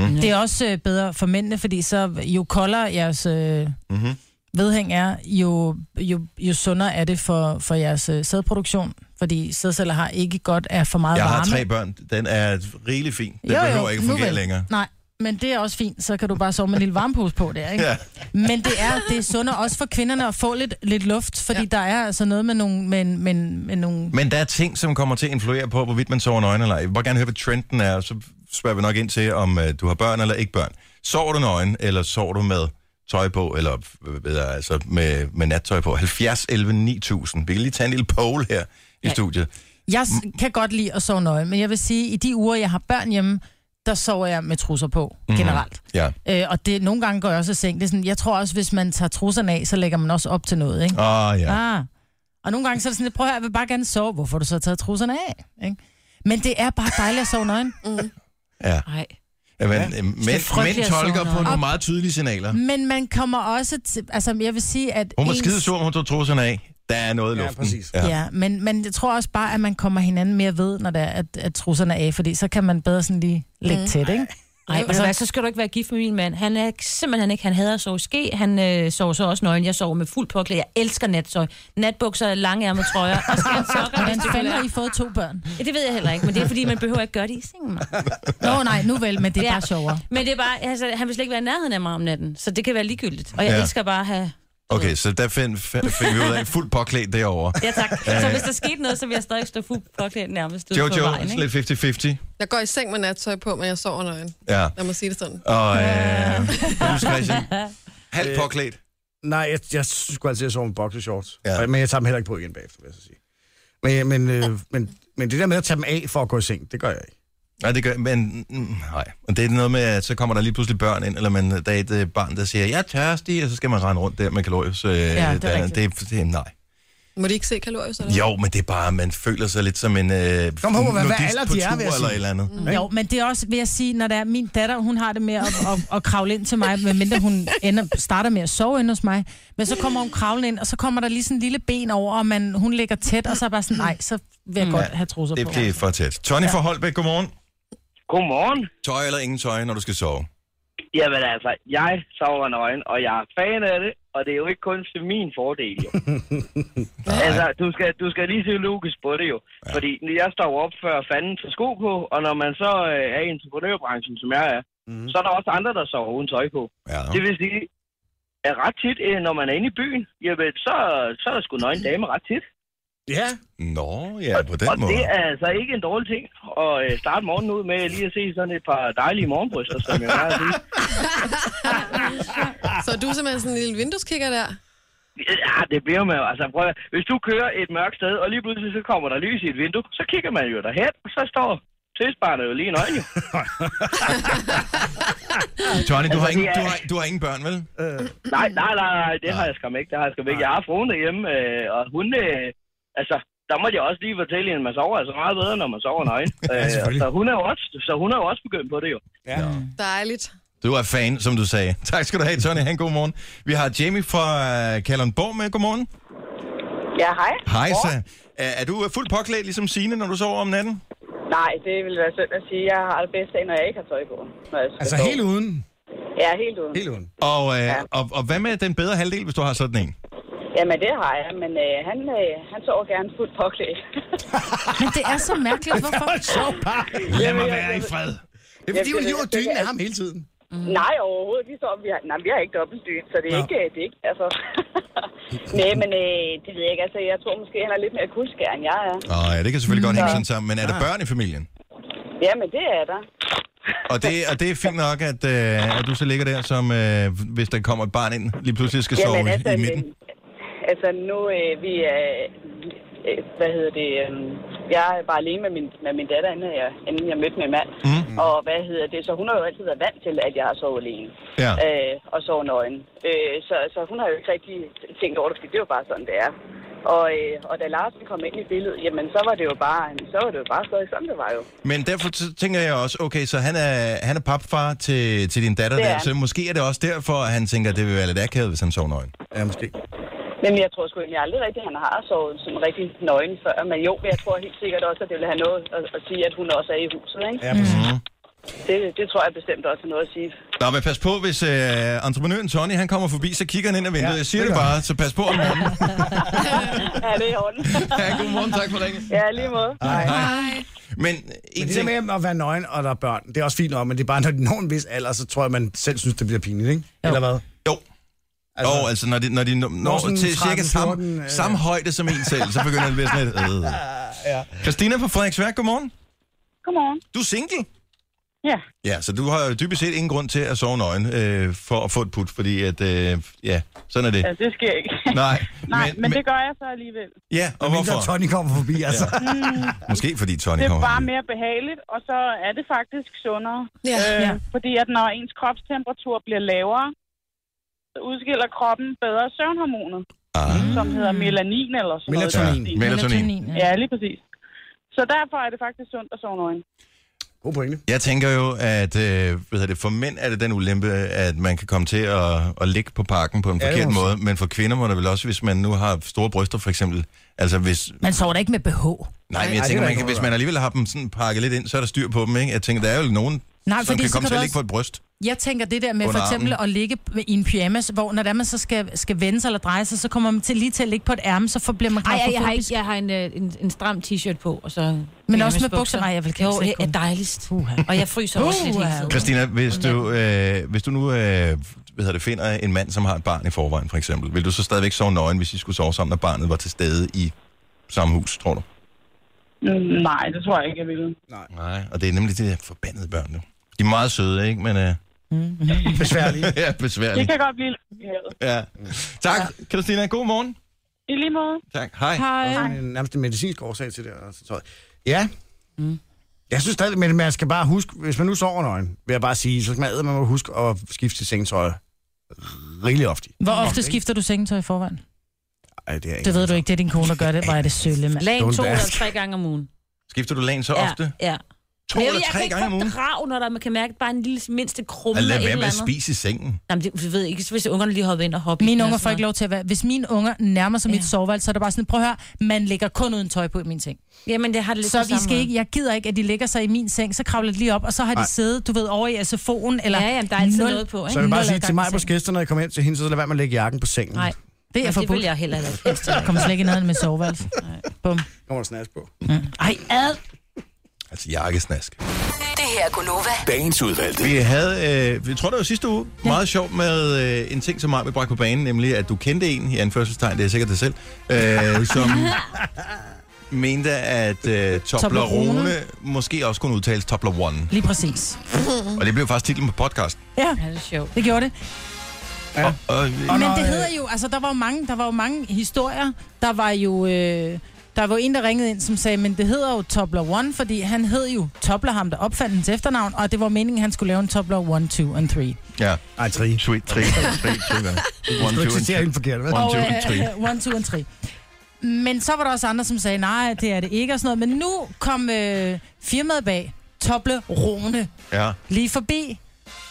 Speaker 5: Mm. Det er også øh, bedre for mændene, fordi så jo koldere jeres øh,
Speaker 1: Mm-hmm.
Speaker 5: vedhæng er, jo, jo, jo sundere er det for, for jeres øh, sædproduktion. Fordi sædceller har ikke godt af for meget
Speaker 1: Jeg
Speaker 5: varme.
Speaker 1: har tre børn. Den er rigelig fin. Den jo, jo, behøver ikke at
Speaker 5: nu
Speaker 1: fungere
Speaker 5: vel.
Speaker 1: længere.
Speaker 5: Nej, men det er også fint, så kan du bare sove med en lille varmepose på der, ikke?
Speaker 1: Ja.
Speaker 5: Men det er, det er sundere også for kvinderne at få lidt, lidt luft, fordi ja.
Speaker 4: Ja.
Speaker 5: der er altså noget med nogle... Med, med, med nogle
Speaker 1: Men der er ting, som kommer til at influere på, hvorvidt man sover nøgen eller ej. Jeg vil bare gerne høre, hvad trenden er, og så spørger vi nok ind til, om øh, du har børn eller ikke børn. Sover du nøgen, eller sover du med tøj på, eller hvad ved jeg, altså med, med nattøj på? 70, 11, 9000. Vi kan lige tage en lille poll her i studiet.
Speaker 5: jeg
Speaker 1: Mm.
Speaker 5: s- kan godt lide at sove nøgen, men jeg vil sige, at i de uger, jeg har børn hjemme, der sover jeg med trusser på,
Speaker 1: Mhm.
Speaker 5: generelt.
Speaker 1: Ja.
Speaker 5: Øh, og det, nogle gange går jeg også i seng. Det er sådan, jeg tror også, hvis man tager trusserne af, så lægger man også op til noget, ikke?
Speaker 1: Åh, oh, ja.
Speaker 5: Ah. Og nogle gange så er det sådan, lidt, prøv at høre, jeg vil bare gerne sove. Hvorfor har du så taget trusserne af? Ikke? Men det er bare dejligt at sove nøgen.
Speaker 1: ja.
Speaker 3: Nej.
Speaker 1: ja. Men, øh, mænd,
Speaker 3: frygteligt
Speaker 1: mænd
Speaker 3: at sove
Speaker 1: tolker på
Speaker 3: nøgen.
Speaker 1: nogle meget tydelige signaler.
Speaker 5: Men man kommer også til... Altså, jeg vil sige, at...
Speaker 1: Hun var
Speaker 5: ens-
Speaker 1: skide sur, hun tog trusserne af. Der er noget i
Speaker 2: Ja,
Speaker 1: luften.
Speaker 2: præcis.
Speaker 5: Ja, ja men, men jeg tror også bare, at man kommer hinanden mere ved, når det er, at, at trusserne er af, fordi så kan man bedre sådan lige lægge mm. tæt, ikke?
Speaker 3: Nej, altså, hvad, så skal du ikke være gift med min mand. Han er simpelthen ikke, han hader at sove ske. Han øh, sover så også nøgen. Jeg sover med fuld påklæde. Jeg elsker nattøj. Natbukser, langærmet trøjer og skærsokker.
Speaker 5: Hvordan fanden har I fået to børn?
Speaker 3: Ja, det ved jeg heller ikke, men det er fordi, man behøver ikke gøre det i sengen. mand.
Speaker 5: Nå nej, nu vel, men det er
Speaker 3: Ja.
Speaker 5: bare sjovere.
Speaker 3: Men det er bare, altså, han vil slet ikke være i nærheden af mig om natten, så det kan være ligegyldigt. Og jeg
Speaker 1: Ja.
Speaker 3: ja. elsker bare at have...
Speaker 1: Okay, så der find, f- fik vi ud af fuldt påklædt derovre.
Speaker 3: Ja, tak. Så hvis der skete noget, så vil jeg stadig stå fuldt påklædt nærmest ud på
Speaker 1: Jojo,
Speaker 3: vejen.
Speaker 1: sådan
Speaker 3: Ikke?
Speaker 1: lidt 50-50.
Speaker 4: Jeg går i seng med nattøj på, men jeg sover nøgen.
Speaker 1: Ja.
Speaker 4: Lad mig sige det sådan.
Speaker 1: Og øh, du, Christian,
Speaker 2: Øh.
Speaker 1: halvt påklædt.
Speaker 2: Nej, jeg, jeg skulle altid sove med boxershorts.
Speaker 1: Ja.
Speaker 2: Ja. Men jeg tager dem heller ikke på igen bagefter, vil jeg så sige. Men, men, øh, men, men det der med at tage dem af for at gå i seng, det gør jeg ikke.
Speaker 1: Nej, det gør, men mm, nej. Og det er noget med, at så kommer der lige pludselig børn ind, eller man, der er et øh, barn, der siger, jeg er tørstig, og så skal man rende rundt der med kalorier. Så, ja, det,
Speaker 5: er
Speaker 1: der,
Speaker 5: rigtigt.
Speaker 1: det, er- det er nej.
Speaker 4: Må de ikke se kalorier, så?
Speaker 1: Jo, men det er bare, man føler sig lidt som en øh,
Speaker 2: Kom, Håber, hvad- hvad
Speaker 1: nudist
Speaker 2: alder
Speaker 1: på
Speaker 2: de er,
Speaker 1: tur
Speaker 2: vil jeg
Speaker 1: eller
Speaker 2: sige.
Speaker 1: et eller andet. Mm.
Speaker 5: Jo, men det er også, vil jeg sige, når der er min datter, hun har det med at, at, at kravle ind til mig, medmindre hun ender, starter med at sove inde hos mig. Men så kommer hun kravlende ind, og så kommer der lige sådan en lille ben over, og man, hun ligger tæt, og så er jeg bare sådan, nej, så vil jeg godt have trusser på.
Speaker 1: Det, det er for tæt. Tony ja. fra Holbæk, godmorgen.
Speaker 8: Godmorgen.
Speaker 1: Tøj eller ingen tøj, når du skal sove?
Speaker 8: Jamen altså, jeg sover nøgen, og jeg er fan af det, og det er jo ikke kun til min fordel, jo. altså, du skal, du skal lige se logisk på det, jo. Ja. Fordi jeg står jo op før fanden til sko på, og når man så øh, er i entreprenørbranchen, som jeg er, mm. så er der også andre, der sover uden tøj på.
Speaker 1: Ja.
Speaker 8: Det vil sige, at ret tit, øh, når man er inde i byen, jamen, så, så er der sgu nøgen dame ret tit.
Speaker 2: Ja.
Speaker 1: Nå, ja, på den
Speaker 8: og
Speaker 1: måde.
Speaker 8: det er altså ikke en dårlig ting at øh, starte morgenen ud med lige at se sådan et par dejlige morgenbryster, som jeg har at sige.
Speaker 4: Så er du simpelthen sådan en lille vindueskigger der?
Speaker 8: Ja, det bliver man jo. Altså, prøv at, høre. hvis du kører et mørkt sted, og lige pludselig så kommer der lys i et vindue, så kigger man jo derhen, og så står tøsbarnet er jo lige nøgen, jo.
Speaker 1: Johnny, du har,
Speaker 8: Altså,
Speaker 1: ingen,
Speaker 8: det
Speaker 1: du,
Speaker 8: er-
Speaker 1: har, du har ingen børn, vel?
Speaker 8: Nej, nej, nej, nej, det har jeg skam ikke. Det har jeg skam ikke. Jeg har haft fruen derhjemme, øh, og hun... Øh, altså, der måtte jeg også lige fortælle hende, at man sover altså meget bedre, når man sover nøgen. Øh,
Speaker 2: selvfølgelig.
Speaker 8: så, hun er jo også, så hun er jo også begyndt på det jo.
Speaker 2: Ja.
Speaker 4: Dejligt.
Speaker 1: Du er fan, som du sagde. Tak skal du have, Tony. Han, god morgen. Vi har Jamie fra øh, Kalundborg med. Godmorgen.
Speaker 9: Ja, hej.
Speaker 1: Hej, så. Er, er du øh, fuldt påklædt ligesom Signe, når du sover om natten?
Speaker 9: Nej, det ville være synd at sige. Jeg har det bedst af, når jeg ikke har tøj på. Når jeg skal
Speaker 2: Altså
Speaker 9: sove.
Speaker 2: helt uden.
Speaker 9: Ja, helt uden.
Speaker 2: Helt uden.
Speaker 1: Og, øh, og, og hvad med den bedre halvdel, hvis du har sådan en?
Speaker 9: Jamen, det har jeg, men øh, han, øh, han sover gerne fuldt påklædt.
Speaker 5: Men det er så mærkeligt. Hvorfor?
Speaker 2: så bare.
Speaker 1: Lad mig være i fred.
Speaker 2: Det er fordi, hun hiver
Speaker 9: det-
Speaker 2: dynen af ham hele tiden.
Speaker 9: nej, overhovedet. Vi, sover, vi, har, nej, vi har ikke dobbeltdyt, så det er
Speaker 2: Nå.
Speaker 9: ikke... øh, Det er ikke altså. nej, men øh, det ved jeg ikke. Altså, jeg tror måske, han er lidt mere kuldskær, end jeg er.
Speaker 1: Nå, ja, det kan selvfølgelig godt hænge sådan sammen, men er
Speaker 9: Ah.
Speaker 1: der børn i familien?
Speaker 9: Ja, men det er der.
Speaker 1: Og det, og det er fint nok, at, øh, at du så ligger der, som øh, hvis der kommer et barn ind, lige pludselig skal sove
Speaker 9: Jamen,
Speaker 1: i midten.
Speaker 9: øh, altså nu, øh, vi er, øh, hvad hedder det, øh, jeg var alene med min, med min datter, inden jeg, inden jeg mødte min mand. Mm. Og hvad hedder det, så hun har jo altid været vant til, at jeg har sovet alene.
Speaker 1: Ja.
Speaker 9: Øh, og sovet nøgen. Øh, så, så hun har jo ikke rigtig tænkt over det, fordi det er jo bare sådan, det er. Og, øh, og da Larsen kom ind i billedet, jamen så var det jo bare, så var det jo bare stadig sådan, det var jo.
Speaker 1: Men derfor t- tænker jeg også, okay, så han er, han er papfar til, til din datter
Speaker 9: Det er
Speaker 1: der,
Speaker 9: han.
Speaker 1: så måske er det også derfor, at han tænker, at det vil være lidt akavet, hvis han sover nøgen.
Speaker 2: Ja, måske.
Speaker 9: Men jeg tror sgu egentlig aldrig rigtigt, at han har sovet sådan rigtig nøgen før. Men jo, men jeg tror helt sikkert også, at det vil have noget at, at sige, at hun også er i huset, ikke?
Speaker 2: Ja, præcis.
Speaker 9: Det, det tror jeg bestemt også er noget at sige.
Speaker 1: Nå, men pas på, hvis øh, entreprenøren Tony, han kommer forbi, så kigger han ind ad vinduet.
Speaker 2: Ja,
Speaker 1: jeg siger
Speaker 2: det
Speaker 1: det
Speaker 2: gør
Speaker 1: bare, så pas på om morgenen.
Speaker 9: Ja, det er i orden.
Speaker 1: ja, godmorgen, tak for længe.
Speaker 9: Ja, lige måde.
Speaker 4: Hej.
Speaker 1: Men en
Speaker 2: Men
Speaker 1: ting...
Speaker 2: det der med at være nøgen, og der er børn, det er også fint nok, men det er bare, når de når en vis alder, så tror jeg, man selv synes, det bliver pinligt, ikke? Jo. Eller hvad?
Speaker 1: Jo, altså, jo, altså når de når, de når
Speaker 2: sådan
Speaker 1: til cirka
Speaker 2: 13,
Speaker 1: samme
Speaker 2: 14, øh.
Speaker 1: samme højde som en selv, så begynder det at blive sådan lidt... Øh.
Speaker 2: ja.
Speaker 1: Christina fra Frederiksværk, godmorgen.
Speaker 9: Godmorgen.
Speaker 1: Du er single?
Speaker 9: Ja.
Speaker 1: Ja, så du har jo dybest set ingen grund til at sove nøgen øh, for at få et put, fordi at, øh, ja, sådan er det.
Speaker 9: Ja, det sker ikke.
Speaker 1: Nej,
Speaker 9: Øh, Nej, men, men det gør jeg så alligevel.
Speaker 1: Ja, og
Speaker 2: Hvorfor?
Speaker 1: hvorfor?
Speaker 2: Tony kommer forbi, altså. Ja.
Speaker 1: Måske fordi Tony
Speaker 9: Det er
Speaker 1: kommer.
Speaker 9: bare mere behageligt, og så er det faktisk sundere.
Speaker 4: Ja.
Speaker 9: Øh,
Speaker 5: Ja.
Speaker 9: ja. Fordi at når ens kropstemperatur bliver lavere, så udskiller kroppen bedre søvnhormoner,
Speaker 1: Ah,
Speaker 9: som hedder melanin eller sådan
Speaker 2: Melatonin.
Speaker 9: noget. i den
Speaker 1: ja,
Speaker 9: stil.
Speaker 1: melatonin.
Speaker 9: Ja, lige præcis. Så derfor er det faktisk sundt at sove nøgen.
Speaker 2: God pointe.
Speaker 1: Jeg tænker jo, at øh, hvad hedder det, for mænd er det den ulempe, at man kan komme til at, at ligge på parken på en
Speaker 2: Ja, det må
Speaker 1: forkert
Speaker 2: man
Speaker 1: måde, men for kvinder må det vel også, hvis man nu har store bryster for eksempel, altså hvis...
Speaker 5: Man sover da ikke med BH.
Speaker 1: Nej, men
Speaker 2: det
Speaker 1: jeg
Speaker 2: er
Speaker 1: tænker,
Speaker 2: der
Speaker 1: man
Speaker 2: ikke
Speaker 1: kan,
Speaker 2: noget
Speaker 1: hvis man alligevel har dem sådan pakket lidt ind, så er der styr på dem, ikke? Jeg tænker, der er jo nogen,
Speaker 5: Nej,
Speaker 1: som
Speaker 5: fordi
Speaker 1: kan
Speaker 5: så
Speaker 1: komme
Speaker 5: kan
Speaker 1: til
Speaker 5: du
Speaker 1: at ligge på et bryst.
Speaker 5: Jeg tænker det der med for
Speaker 1: Under
Speaker 5: eksempel at ligge i en pyjamas, hvor når det er, man så skal, skal vende sig eller dreje sig, så kommer man til lige til at ligge på et ærme, så får- bliver man
Speaker 3: Ej, ej, jeg har,
Speaker 5: klaustrofobisk.
Speaker 3: ikke, jeg har en, øh, en, en stram t-shirt på, og så...
Speaker 5: Men også med bukser. Nej, jeg vil
Speaker 3: Jo,
Speaker 5: ikke
Speaker 3: det er dejligst. Og jeg fryser også lidt hele
Speaker 5: Puha.
Speaker 3: tiden.
Speaker 1: Christina, hvis du, øh, hvis du nu øh, hvad hedder det, finder en mand, som har et barn i forvejen, for eksempel, vil du så stadigvæk sove nøgen, hvis I skulle sove sammen, når barnet var til stede i samme hus, tror du?
Speaker 9: Mm, nej, det tror jeg ikke, jeg vil.
Speaker 1: Nej, og det er nemlig de der forbandede børn nu. De er meget søde, ikke? Men øh,
Speaker 2: Besværligt.
Speaker 1: ja,
Speaker 9: Det
Speaker 1: besværligt.
Speaker 9: kan godt blive lidt behageligt.
Speaker 1: Ja. Tak, Christina. God morgen.
Speaker 9: I lige måde.
Speaker 1: Tak. Hej.
Speaker 5: Hej.
Speaker 2: en, nærmest en medicinsk årsag til det. Altså, tøj. Ja. Mm. Jeg synes stadig, men man skal bare huske, hvis man nu sover nøgen, vil jeg bare sige, så skal man, æde, man må huske at skifte til sengetøj rigelig ofte.
Speaker 5: Hvor ofte skifter du sengetøj i forvejen?
Speaker 2: Ej, det er ikke.
Speaker 5: Det ved du ikke, det er din kone, der gør det. Hvor er det sølle, mand.
Speaker 3: Lagen
Speaker 2: Don't
Speaker 3: to eller
Speaker 2: ask.
Speaker 3: tre gange om ugen.
Speaker 1: Skifter du lagen så
Speaker 3: Ja,
Speaker 1: ofte?
Speaker 3: ja.
Speaker 1: To
Speaker 3: Men
Speaker 1: eller
Speaker 3: jeg kan
Speaker 1: tre
Speaker 3: ikke
Speaker 1: gange om ugen?
Speaker 3: fordrage, når der, man kan mærke bare en lille mindste krumme
Speaker 1: Og
Speaker 3: eller
Speaker 1: lad
Speaker 3: et
Speaker 1: være med
Speaker 3: eller
Speaker 1: at
Speaker 3: andet.
Speaker 1: spise i sengen.
Speaker 3: Jamen, det, du ved ikke, hvis ungerne lige hopper ind og hopper. i den
Speaker 5: Mine
Speaker 3: og
Speaker 5: unger
Speaker 3: sådan
Speaker 5: får ikke
Speaker 3: noget.
Speaker 5: lov til at være... Hvis mine unger nærmer sig mit
Speaker 3: Ja.
Speaker 5: soveværelse, så er det bare sådan, prøv at høre, man ligger kun uden tøj på i min seng.
Speaker 3: Jamen, det har det lidt
Speaker 5: Så
Speaker 3: på
Speaker 5: vi
Speaker 3: samme
Speaker 5: skal
Speaker 3: måde.
Speaker 5: ikke, jeg gider ikke, at de ligger sig i min seng, så kravler de lige op, og så har de siddet, du ved, over i SFO'en, eller
Speaker 3: Ja, jamen, der er altid
Speaker 5: nul-
Speaker 3: noget på, ikke?
Speaker 2: Så jeg vil bare
Speaker 5: Nul
Speaker 2: sige til
Speaker 5: adgang
Speaker 2: mig
Speaker 5: til
Speaker 2: på
Speaker 5: sengen.
Speaker 2: gæster, når jeg kommer hjem til hende, så lad være med at lægge jakken på sengen.
Speaker 3: Nej,
Speaker 5: Det er
Speaker 3: men det
Speaker 5: forbudt.
Speaker 3: vil jeg heller ikke. helst til.
Speaker 5: Jeg kommer slet ikke i nærheden med soveværelse. Bum.
Speaker 2: Kommer der snas på.
Speaker 5: Ej, ad.
Speaker 1: Altså jakkesnask.
Speaker 7: Det her er Gunova.
Speaker 6: Dagens udvalgte.
Speaker 1: Vi havde, øh, vi tror det var sidste uge, ja. meget sjovt med øh, en ting, som Maja bragte på banen, nemlig at du kendte en, i anførselstegn, det er sikkert dig selv, øh, som mente, at øh, Toblerone
Speaker 5: Toblerone.
Speaker 1: måske også kunne udtales Toblerone.
Speaker 5: Lige præcis.
Speaker 1: Og det blev faktisk titlen på podcasten.
Speaker 5: Ja,
Speaker 3: Ja, det er sjovt.
Speaker 5: det gjorde det.
Speaker 1: Ja. Og, og,
Speaker 2: Og
Speaker 5: Men
Speaker 2: når,
Speaker 5: det
Speaker 2: øh,
Speaker 5: hedder jo, altså der var jo mange, der var jo mange historier. Der var jo øh, Der var en, der ringede ind, som sagde, men det hedder jo Tobler One, fordi han hed jo Tobler, ham der opfandt hans efternavn, og det var meningen, han skulle lave en Tobler One, Two and Three.
Speaker 1: Ja.
Speaker 2: Ej, tri.
Speaker 1: Sweet, tre, tre, tre, hvad? One,
Speaker 2: Du
Speaker 1: two, and
Speaker 2: eksisterer
Speaker 1: three.
Speaker 2: helt forkert, vel?
Speaker 1: One,
Speaker 5: Og,
Speaker 1: two, and
Speaker 5: øh,
Speaker 1: three.
Speaker 5: øh, One, Two and Three. Men så var der også andre, som sagde, nej, det er det ikke og sådan noget. Men nu kom øh, firmaet bag, Toble Rone,
Speaker 1: Ja.
Speaker 5: lige forbi.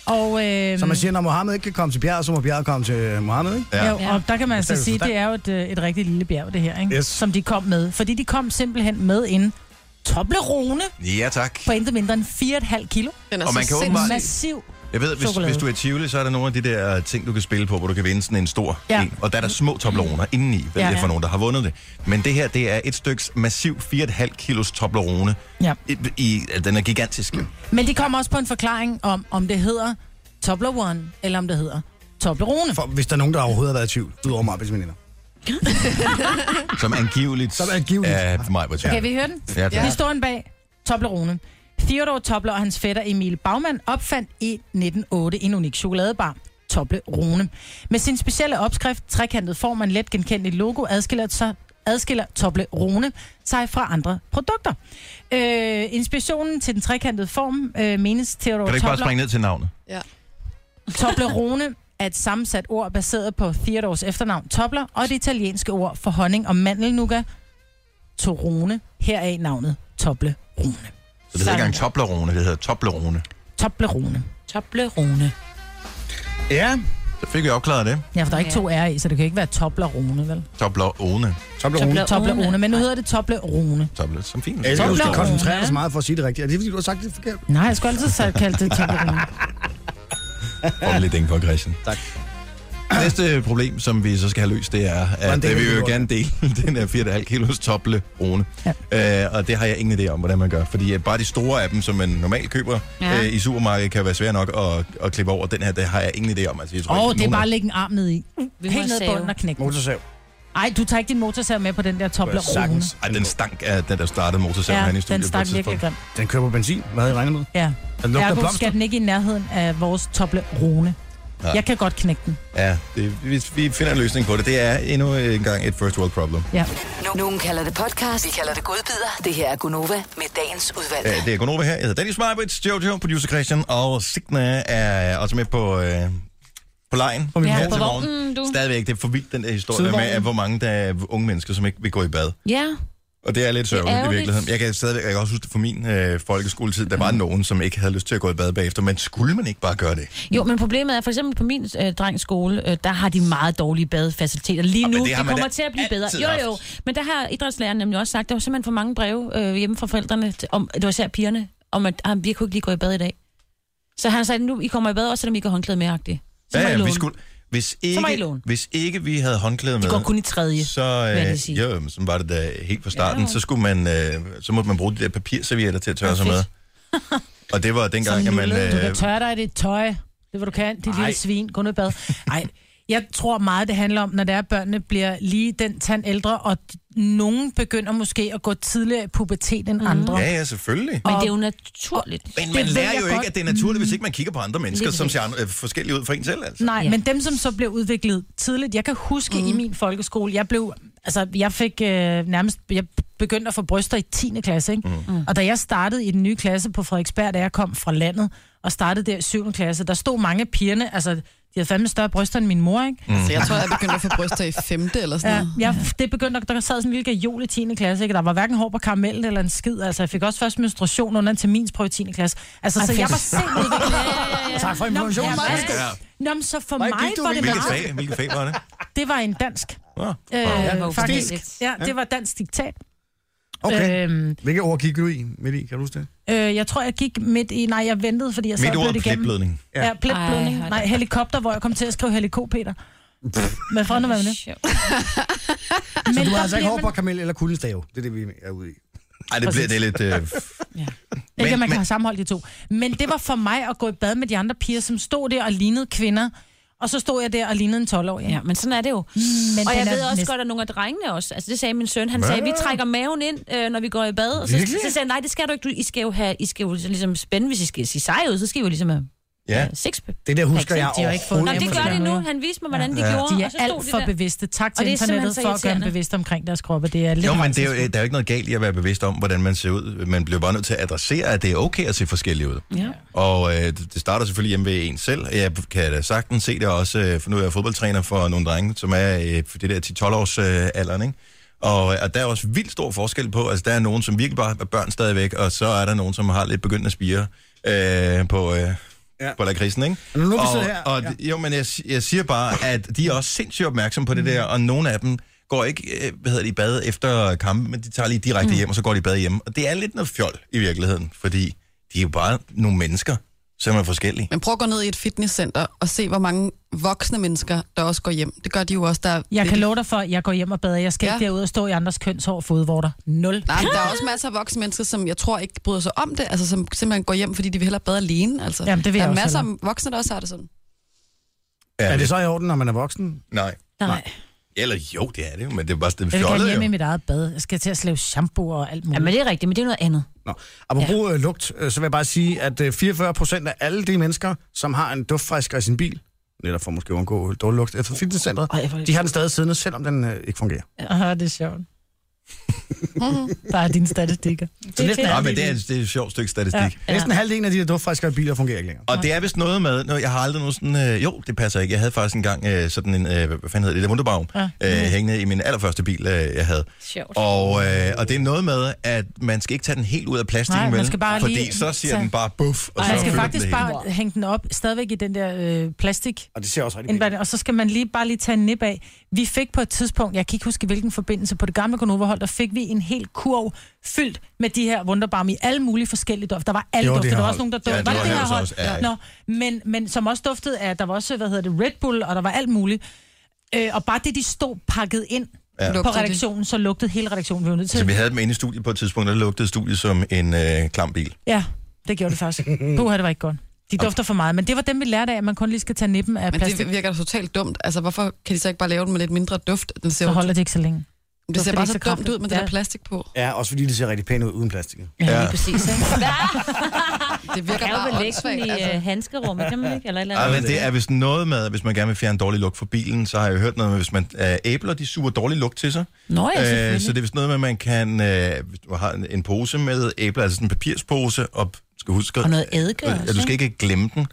Speaker 5: Og, øh,
Speaker 2: Så man siger, når Mohammed ikke kan komme til bjerget, så må bjerget komme til øh, Mohammed, ikke?
Speaker 1: Ja.
Speaker 5: Ja. Jo, og der kan man altså
Speaker 2: Det er
Speaker 5: sige,
Speaker 2: forstand-
Speaker 5: det er jo et, øh, et rigtig lille bjerg, det her, ikke?
Speaker 2: Yes.
Speaker 5: som de kom med. Fordi de kom simpelthen med en Toblerone
Speaker 1: Ja, tak.
Speaker 5: på intet mindre end 4,5 kilo.
Speaker 4: Den er
Speaker 1: Og
Speaker 4: så
Speaker 1: man kan
Speaker 4: sindssygt.
Speaker 1: åbenbart-
Speaker 5: Massiv.
Speaker 1: Jeg ved, hvis,
Speaker 5: Chokolade.
Speaker 1: hvis du er i Tivoli, så er der nogle af de der ting, du kan spille på, hvor du kan vinde sådan en stor
Speaker 5: Ja. Mm.
Speaker 1: en. Og der er der små tobleroner indeni, ved
Speaker 5: Ja.
Speaker 1: ja, jeg for
Speaker 5: Ja.
Speaker 1: nogen, der har vundet det. Men det her, det er et styks massiv 4,5 kilos toblerone.
Speaker 5: Ja.
Speaker 1: I, i, den er gigantisk.
Speaker 5: Men de kom også på en forklaring om, om det hedder Toblerone, eller om det hedder Toblerone.
Speaker 2: For, hvis der er nogen, der overhovedet har været i tvivl, udover mig, hvis veninder.
Speaker 1: Som angiveligt,
Speaker 2: Som angiveligt.
Speaker 1: er mig på
Speaker 5: Kan vi høre den?
Speaker 1: Ja,
Speaker 5: Ja.
Speaker 1: tak.
Speaker 5: Historien bag Toblerone. Theodor Tobler og hans fætter Emil Bagmann opfandt i 1908 en unik chokoladebar, Toblerone. Med sin specielle opskrift, trekantet form og en let genkendeligt logo, adskiller, sig, adskiller Toblerone sig fra andre produkter. Øh, inspirationen til den trekantede form øh, menes Theodor
Speaker 1: Kan du ikke bare
Speaker 5: Tobler.
Speaker 1: springe ned til navnet?
Speaker 4: Ja.
Speaker 5: Toblerone er et sammensat ord baseret på Theodors efternavn Tobler og det italienske ord for honning og mandelnuga, Torone, heraf navnet Toblerone.
Speaker 1: Så det hedder ikke engang toblerone, det hedder toblerone.
Speaker 5: Toblerone.
Speaker 3: Toblerone.
Speaker 2: Ja.
Speaker 1: Så fik vi opklaret det.
Speaker 5: Ja, for der er ikke to R i, så det kan ikke være Toblerone, vel?
Speaker 1: Toblerone.
Speaker 2: Så bliver Rune.
Speaker 5: Toblerone, men nu hedder det Toblerone.
Speaker 1: Tobler, som fint.
Speaker 2: Jeg elsker, at du
Speaker 5: Toblerone.
Speaker 2: koncentrerer dig så meget for at sige det rigtigt. Er det, fordi du har sagt det forkert?
Speaker 5: Nej, jeg skulle altid have kaldt det Toblerone.
Speaker 1: Prøv lidt dænk på, Christian.
Speaker 2: Tak.
Speaker 1: Næste problem, som vi så skal have løst, det er,
Speaker 2: Hvordan
Speaker 1: at øh,
Speaker 2: deler
Speaker 1: vi vil
Speaker 2: vi
Speaker 1: jo
Speaker 2: jorden?
Speaker 1: gerne dele den her 4,5 kilos tople rone. Ja. Øh, og det har jeg ingen idé om, hvordan man gør. Fordi øh, bare de store af dem, som man normalt køber ja.
Speaker 3: Ja.
Speaker 1: øh, i supermarkedet, kan være svære nok at, at klippe over. Den her, det har jeg ingen idé om. Altså, jeg tror
Speaker 5: Åh,
Speaker 1: ikke,
Speaker 5: oh, det er
Speaker 1: nogen
Speaker 5: bare
Speaker 1: af-
Speaker 5: at lægge en arm ned i.
Speaker 3: Vi
Speaker 5: Helt ned på bunden og knække. den.
Speaker 2: Motorsav.
Speaker 5: Ej, du tager ikke din motorsav med på den der Toblerone.
Speaker 2: Sagtens.
Speaker 1: Ej, den stank af den, der startede motorsaven ja,
Speaker 5: Ja,
Speaker 1: herinde i
Speaker 5: den
Speaker 1: studiet på et
Speaker 5: stak virkelig
Speaker 1: tidspunkt.
Speaker 5: grimt.
Speaker 2: Den kører på benzin. Hvad havde I regnet med?
Speaker 5: Ja.
Speaker 2: Den lugter
Speaker 5: Ergo
Speaker 2: blomster.
Speaker 5: skal den ikke i nærheden af vores Toblerone.
Speaker 1: Nej.
Speaker 5: Jeg kan godt knække den.
Speaker 1: Ja, det, vi, vi finder en løsning på det. Det er endnu en gang et first world problem.
Speaker 5: Ja.
Speaker 7: No- Nogen kalder det podcast, vi kalder det godbider. Det her er Gunova med dagens udvalgte.
Speaker 1: Øh, Det er Gunova her. Jeg hedder Dennis Marbits, Jojo, producer Christian, og Signe er også med på, øh, på lejen.
Speaker 2: min
Speaker 1: her
Speaker 2: vogn.
Speaker 1: til
Speaker 3: På
Speaker 1: morgen.
Speaker 3: vognen, du.
Speaker 1: Stadigvæk, det er for vildt, den der historie
Speaker 2: Sidevognen.
Speaker 1: med, at hvor mange der er unge mennesker, som ikke vil gå i bad.
Speaker 3: Ja,
Speaker 1: Og det er lidt sørgeligt i
Speaker 3: ærgerligt. Mm.
Speaker 1: virkeligheden. Jeg kan stadigvæk jeg kan også huske det fra min øh, folkeskoletid. Der var nogen, som ikke havde lyst til at gå i bad bagefter, men skulle man ikke bare gøre det?
Speaker 3: jo, men problemet er, for eksempel på min øh, drengs skole, øh, der har de meget dårlige badefaciliteter lige
Speaker 1: Nå, men
Speaker 3: nu.
Speaker 1: det
Speaker 3: Det,
Speaker 1: har
Speaker 3: det
Speaker 1: man
Speaker 3: kommer
Speaker 1: da
Speaker 3: til at blive bedre.
Speaker 1: altid
Speaker 3: Jo,
Speaker 1: haft.
Speaker 3: jo, men der har idrætslæreren nemlig også sagt, der var simpelthen for mange breve øh, hjemme fra forældrene, til, om, det var især pigerne, om at ah, vi kunne ikke lige gå i bad i dag. Så han sagde, nu I kommer i bad, også selvom I ikke har håndklæde med, agtigt. Så må I
Speaker 1: vi
Speaker 3: låne.
Speaker 1: skulle, hvis
Speaker 3: må I
Speaker 1: ikke,
Speaker 3: låne.
Speaker 1: hvis ikke vi havde håndklæde med,
Speaker 3: Det går kun i tredje.
Speaker 1: så,
Speaker 3: vil jeg lige
Speaker 1: øh,
Speaker 3: sige.
Speaker 1: jo, så var det da helt fra starten,
Speaker 3: Ja.
Speaker 1: så, skulle man, øh, så måtte man bruge de der papirservietter til at tørre
Speaker 3: Hvor
Speaker 1: sig med.
Speaker 3: fedt.
Speaker 1: Og det var dengang, at man...
Speaker 5: nullet. Du kan
Speaker 1: Øh,
Speaker 5: tørre dig i dit tøj. Det var du kan, dit lille svin. Gå ned i bad. Ej, jeg tror meget, det handler om, når der børnene bliver lige den tand ældre, og d- nogen begynder måske at gå tidligere i pubertet end andre.
Speaker 1: ja, ja, selvfølgelig.
Speaker 3: Men det er jo naturligt.
Speaker 1: Men
Speaker 5: Det
Speaker 1: man
Speaker 5: ved
Speaker 1: lærer
Speaker 5: jeg
Speaker 1: jo ikke,
Speaker 5: godt.
Speaker 1: at det er naturligt, hvis ikke man kigger på andre mennesker,
Speaker 3: Lige
Speaker 1: som
Speaker 3: præcis.
Speaker 1: ser andre- øh, forskellige ud fra en selv. Altså.
Speaker 5: Nej,
Speaker 3: Ja.
Speaker 5: men dem, som så blev udviklet tidligt, jeg kan huske
Speaker 2: Mhm.
Speaker 5: mm. i min folkeskole, jeg blev, altså jeg fik øh, nærmest, jeg begyndte at få bryster i 10. klasse, ikke?
Speaker 2: Mhm.
Speaker 5: Mm. Og da jeg startede i den nye klasse på Frederiksberg, da jeg kom fra landet, og startede der i 7. klasse, der stod mange af pigerne, altså de havde fandme større bryster end min mor, ikke?
Speaker 2: Mhm.
Speaker 4: Så jeg tror, jeg begyndte at få bryster i femte eller sådan
Speaker 5: Ja,
Speaker 4: noget.
Speaker 5: jeg, det begyndte, der sad sådan en lille gajol i 10. klasse, ikke? Der var hverken hår på karamel eller en skid. Altså, jeg fik også først menstruation under en terminsprøve i 10. klasse. Altså, så jeg var sindssygt.
Speaker 2: Tak for
Speaker 5: Nå,
Speaker 2: informationen.
Speaker 5: men-
Speaker 2: Mads.
Speaker 1: Ja.
Speaker 5: Nå, men så for
Speaker 2: Hvor
Speaker 5: mig
Speaker 2: gik du
Speaker 5: var det
Speaker 1: Hvilket
Speaker 5: meget.
Speaker 1: fag, hvilket fag var det?
Speaker 5: Det var en dansk.
Speaker 1: Nå.
Speaker 5: Øh,
Speaker 3: hvor
Speaker 5: faktisk.
Speaker 3: ubehageligt.
Speaker 5: Ja, det var dansk diktat.
Speaker 2: Okay.
Speaker 5: Øhm,
Speaker 2: Hvilke ord gik du i midt i? Kan du huske det?
Speaker 5: øh, jeg tror, jeg gik midt i... Nej, jeg ventede, fordi jeg sad
Speaker 1: Mit
Speaker 5: og
Speaker 1: ord
Speaker 5: blev
Speaker 1: er
Speaker 5: det igennem.
Speaker 1: pletblødning.
Speaker 2: Ja.
Speaker 5: Ja, pletblødning.
Speaker 3: Ej, hold
Speaker 5: Nej,
Speaker 3: da.
Speaker 5: helikopter, hvor jeg kom til at skrive helikopeter. Men fanden hvad med det?
Speaker 3: Sjovt.
Speaker 2: Så
Speaker 5: Men
Speaker 2: du har
Speaker 5: der
Speaker 2: altså ikke
Speaker 5: bliver
Speaker 2: hår på kamel eller kuldestave. Det er det, vi er ude i.
Speaker 1: Ej, det bliver det er lidt... Øh,
Speaker 5: Ikke,
Speaker 1: Men-
Speaker 5: at man
Speaker 1: men-
Speaker 5: kan have sammenholdt de to. Men det var for mig at gå i bad med de andre piger, som stod der og lignede kvinder. Og så stod jeg der og lignede en 12-årig.
Speaker 3: Ja, men sådan er det jo. og
Speaker 5: Men Mm, den
Speaker 3: jeg
Speaker 5: er
Speaker 3: ved også
Speaker 5: næsten-
Speaker 3: godt, at nogle af drengene også, altså det sagde min søn, han sagde, vi trækker maven ind, øh, når vi går i bad. Og så, så
Speaker 2: Virkelig?
Speaker 3: sagde han, nej, det skal du ikke, du, I skal jo have, I skal jo så ligesom spænde, hvis I skal se sej ud, så skal I jo ligesom have
Speaker 1: Ja.
Speaker 3: sixpack.
Speaker 2: Det der husker jeg
Speaker 5: de har ikke fået
Speaker 3: Nå,
Speaker 2: overhovedet.
Speaker 5: nemt
Speaker 3: det
Speaker 5: for
Speaker 3: gør de
Speaker 5: dem.
Speaker 3: nu. Han viste mig, hvordan de
Speaker 1: Ja.
Speaker 3: gjorde,
Speaker 5: De
Speaker 3: og
Speaker 5: er
Speaker 3: så stod
Speaker 5: alt
Speaker 3: de
Speaker 5: for
Speaker 3: der.
Speaker 5: bevidste. Tak
Speaker 3: Og
Speaker 5: til
Speaker 3: det er simpelthen
Speaker 5: internettet
Speaker 3: så
Speaker 5: for at gøre dem
Speaker 3: irriterende.
Speaker 5: bevidste omkring deres kroppe. Det er lidt
Speaker 1: Jo, men det er jo,
Speaker 5: rædselsfuldt.
Speaker 1: der er jo ikke noget galt i at være bevidst om, hvordan man ser ud. Man bliver bare nødt til at adressere, at det er okay at se forskellige ud.
Speaker 3: Ja.
Speaker 1: Og øh, det det starter selvfølgelig hjemme ved en selv. Jeg kan da sagtens se det også, øh, for nu er jeg fodboldtræner for nogle drenge, som er øh, for det der 10-12 års øh, alderen, ikke? Og, øh, og der er også vildt stor forskel på, altså der er nogen, som virkelig bare er børn stadigvæk, og så er der nogen, som har lidt begyndt at spire øh, på, øh, ja.
Speaker 2: Ja.
Speaker 1: på lakridsen, ikke?
Speaker 2: Men nu er vi
Speaker 1: og,
Speaker 2: siddet her,
Speaker 1: og,
Speaker 2: ja.
Speaker 1: Jo, men jeg, si- jeg siger bare, at de er også sindssygt opmærksomme på det der, og nogle af dem går ikke, øh, hvad hedder det, i bad efter kampen, men de tager lige direkte hjem, og så går de i bad hjemme. Og det er lidt noget fjol i virkeligheden, fordi de er jo bare nogle mennesker, som er forskellige.
Speaker 4: Men prøv at gå ned i et fitnesscenter og se, hvor mange voksne mennesker, der også går hjem. Det gør de jo også, der...
Speaker 5: Jeg
Speaker 4: det-
Speaker 5: kan love dig for, at jeg går hjem og bader. Jeg skal ja.
Speaker 4: Ja.
Speaker 5: ikke derud og stå i andres kønshår og fodvorter. Nul.
Speaker 4: Nej, men der er også masser af voksne mennesker, som jeg tror ikke bryder sig om det, altså som simpelthen går hjem, fordi de vil hellere bade alene. Altså.
Speaker 5: Jamen, det vil
Speaker 4: der
Speaker 5: jeg
Speaker 4: er
Speaker 5: også
Speaker 4: masser af voksne, der også har det sådan.
Speaker 2: Er det så i orden, når man er voksen?
Speaker 1: Nej.
Speaker 3: Nej.
Speaker 1: Eller jo, det er det jo, men det er bare sådan
Speaker 5: Jeg vil gerne
Speaker 1: fjollet
Speaker 5: hjem i
Speaker 1: jo.
Speaker 5: mit eget bad. Jeg skal til at slæve shampoo og alt muligt.
Speaker 3: Ja, men det er rigtigt, men det er noget andet.
Speaker 2: Nå. Apropos ja. lugt, øh, så vil jeg bare sige, at øh, 44 procent af alle de mennesker, som har en duftfrisker i sin bil, netop for måske at undgå dårlig lugt efter fitnesscenteret,
Speaker 3: Ej, hvor er det-
Speaker 2: de har den stadig siddende, selvom den øh, ikke fungerer.
Speaker 5: Aha, det er sjovt. Bare dine statistikker.
Speaker 2: Så næsten,
Speaker 1: Nej,
Speaker 2: halv,
Speaker 1: men det er, det er et sjovt stykke statistik. Ja.
Speaker 2: næsten halvdelen af de der duftfrisker i biler fungerer ikke længere.
Speaker 1: Og det er vist noget med, når jeg har aldrig nogen sådan, øh, jo, det passer ikke. Jeg havde faktisk engang øh, sådan en, øh, hvad fanden hedder det, der Wunderbaum, ja. øh, hængende i min allerførste bil, øh, jeg havde.
Speaker 3: Sjovt.
Speaker 1: Og, øh, og det er noget med, at man skal ikke tage den helt ud af plastikken,
Speaker 5: Nej, man
Speaker 1: vel?
Speaker 5: skal bare
Speaker 1: fordi
Speaker 5: lige
Speaker 1: så siger
Speaker 5: tage-
Speaker 1: den bare buff, og
Speaker 5: Og
Speaker 1: så
Speaker 5: man skal
Speaker 1: fylder
Speaker 5: faktisk
Speaker 1: den det hele.
Speaker 5: bare hænge den op, stadigvæk i den der øh, plastik.
Speaker 2: Og det ser også rigtig
Speaker 5: indblanding,
Speaker 2: pænt.
Speaker 5: Og så skal man lige bare lige tage en nip af. Vi fik på et tidspunkt, jeg kan ikke huske hvilken forbindelse, på det gamle Konoverhold, der fik vi en hel kurv fyldt med de her Wunderbaum i alle mulige forskellige dufter. Der var alle
Speaker 2: Det var
Speaker 5: dufter.
Speaker 2: det her
Speaker 5: Der var
Speaker 2: hold.
Speaker 5: også nogen, der
Speaker 1: Ja,
Speaker 5: duftede.
Speaker 1: det
Speaker 5: var
Speaker 1: var
Speaker 5: det
Speaker 1: her
Speaker 5: her
Speaker 1: så
Speaker 5: hold?
Speaker 1: også, ja, ja.
Speaker 5: Nå, men, men som også duftede af, der var også, hvad hedder det, Red Bull, og der var alt muligt. Øh, og bare det, de stod pakket ind
Speaker 1: Ja.
Speaker 5: ja. på
Speaker 4: Lugtede de?
Speaker 5: redaktionen, så lugtede hele redaktionen. Vi var nødt
Speaker 1: Så
Speaker 5: til.
Speaker 1: vi havde dem inde i studiet på et tidspunkt, og der lugtede studiet som en øh, klam bil.
Speaker 5: Ja, det gjorde det faktisk. Puh, det var ikke godt. De dufter for meget, men det var dem, vi lærte af, at man kun lige skal tage nippen af
Speaker 4: Men
Speaker 5: plastik,
Speaker 4: det virker da totalt dumt. Altså, hvorfor kan de så ikke bare lave den med lidt mindre duft? Den ser,
Speaker 5: så
Speaker 4: jo-
Speaker 5: holder det ikke så længe.
Speaker 4: det
Speaker 5: hvorfor
Speaker 4: ser
Speaker 5: det
Speaker 4: bare
Speaker 5: ikke
Speaker 4: så,
Speaker 5: så
Speaker 4: dumt
Speaker 5: kraftigt?
Speaker 4: ud med det
Speaker 5: Ja.
Speaker 4: der plastik på.
Speaker 2: Ja, også fordi det ser rigtig pænt ud uden plastik.
Speaker 3: Ja, lige præcis. Ikke?
Speaker 4: Det
Speaker 3: Man
Speaker 4: virker
Speaker 3: kan jo
Speaker 4: bare
Speaker 3: vel lægge den
Speaker 4: åndssvagt.
Speaker 3: i
Speaker 4: Altså.
Speaker 3: øh, handskerummet, kan man ikke? Eller et eller
Speaker 1: Ja,
Speaker 3: andet.
Speaker 1: men det er vist noget med, at hvis man gerne vil fjerne dårlig lugt fra bilen, så har jeg hørt noget med, hvis man øh, æbler, de suger dårlig lugt til sig.
Speaker 3: Nå ja,
Speaker 1: Øh, så
Speaker 3: selvfølgelig.
Speaker 1: det er vist noget med, at man kan, øh, hvis du har en- en pose med æbler, altså sådan en papirspose, og skal huske...
Speaker 3: Og noget eddike
Speaker 1: Ja, du
Speaker 3: også,
Speaker 1: skal ikke glemme den.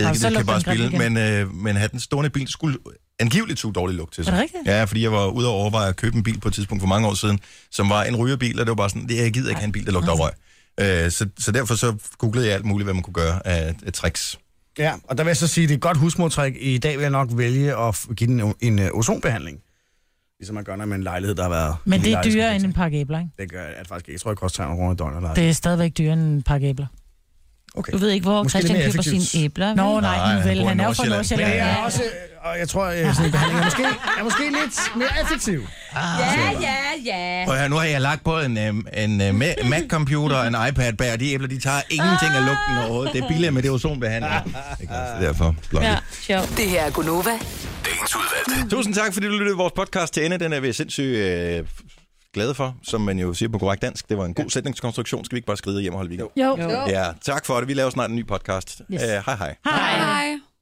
Speaker 1: Eddike,
Speaker 5: så
Speaker 1: det kan
Speaker 5: lugter
Speaker 1: bare
Speaker 5: den grimt
Speaker 1: spille, men, øh, men have den stående i bilen, det skulle angiveligt suge dårlig lugt til sig.
Speaker 5: Er det rigtigt?
Speaker 1: Ja, fordi jeg var ude og overveje at købe en bil på et tidspunkt for mange år siden, som var en rygerbil, og det var bare sådan, det jeg gider ikke have en bil, der lugter af røg. Øh, så, så derfor så googlede jeg alt muligt, hvad man kunne gøre af, af tricks.
Speaker 2: Ja, og der vil jeg så sige, at det er et godt husmortræk. I dag vil jeg nok vælge at f- give den en, en øh, ozonbehandling. Ligesom man gør, når man en lejlighed, der har været...
Speaker 5: Men
Speaker 2: en
Speaker 5: det er
Speaker 2: lejlighed,
Speaker 5: dyrere
Speaker 2: som-
Speaker 5: end en pakke æbler, ikke?
Speaker 2: Det gør jeg faktisk ikke. Jeg tror, det koster 300 kroner i døgnet. eller-
Speaker 5: Det er stadigvæk dyrere end en pakke æbler.
Speaker 2: Okay.
Speaker 3: Du ved ikke, hvor
Speaker 2: Måske
Speaker 3: Christian
Speaker 2: lidt mere
Speaker 3: køber
Speaker 2: effektivt.
Speaker 3: sine æbler. vel?
Speaker 1: Nej,
Speaker 5: Nå, nej, nu
Speaker 1: han bor
Speaker 5: vel.
Speaker 1: i
Speaker 5: Han er jo fra
Speaker 1: Nordsjælland.
Speaker 5: Nordsjælland.
Speaker 2: Men jeg
Speaker 5: Ja.
Speaker 2: er også, øh, og jeg tror, øh, sådan en behandling er måske, er måske lidt mere effektiv.
Speaker 1: Og her, nu har jeg lagt på en, øh, en øh, Ma- Mac-computer og en iPad bag, og de æbler, de tager ingenting af lugten overhovedet. Det er billigere med det ozonbehandling. Det er derfor. Blot.
Speaker 3: Ja, sjovt.
Speaker 7: Det her er Gunova.
Speaker 6: Dagens udvalgte.
Speaker 1: Tusind tak, fordi du lyttede til vores podcast til ende. Den er vi sindssygt øh, f- glade for, som man jo siger på korrekt dansk. Det var en god sætningskonstruktion. Skal vi ikke bare skride hjem og holde weekend?
Speaker 5: Jo.
Speaker 1: Ja, tak for det. Vi laver snart en ny podcast. Yes.
Speaker 5: Yes.
Speaker 1: Uh, hej hej.
Speaker 4: Hej.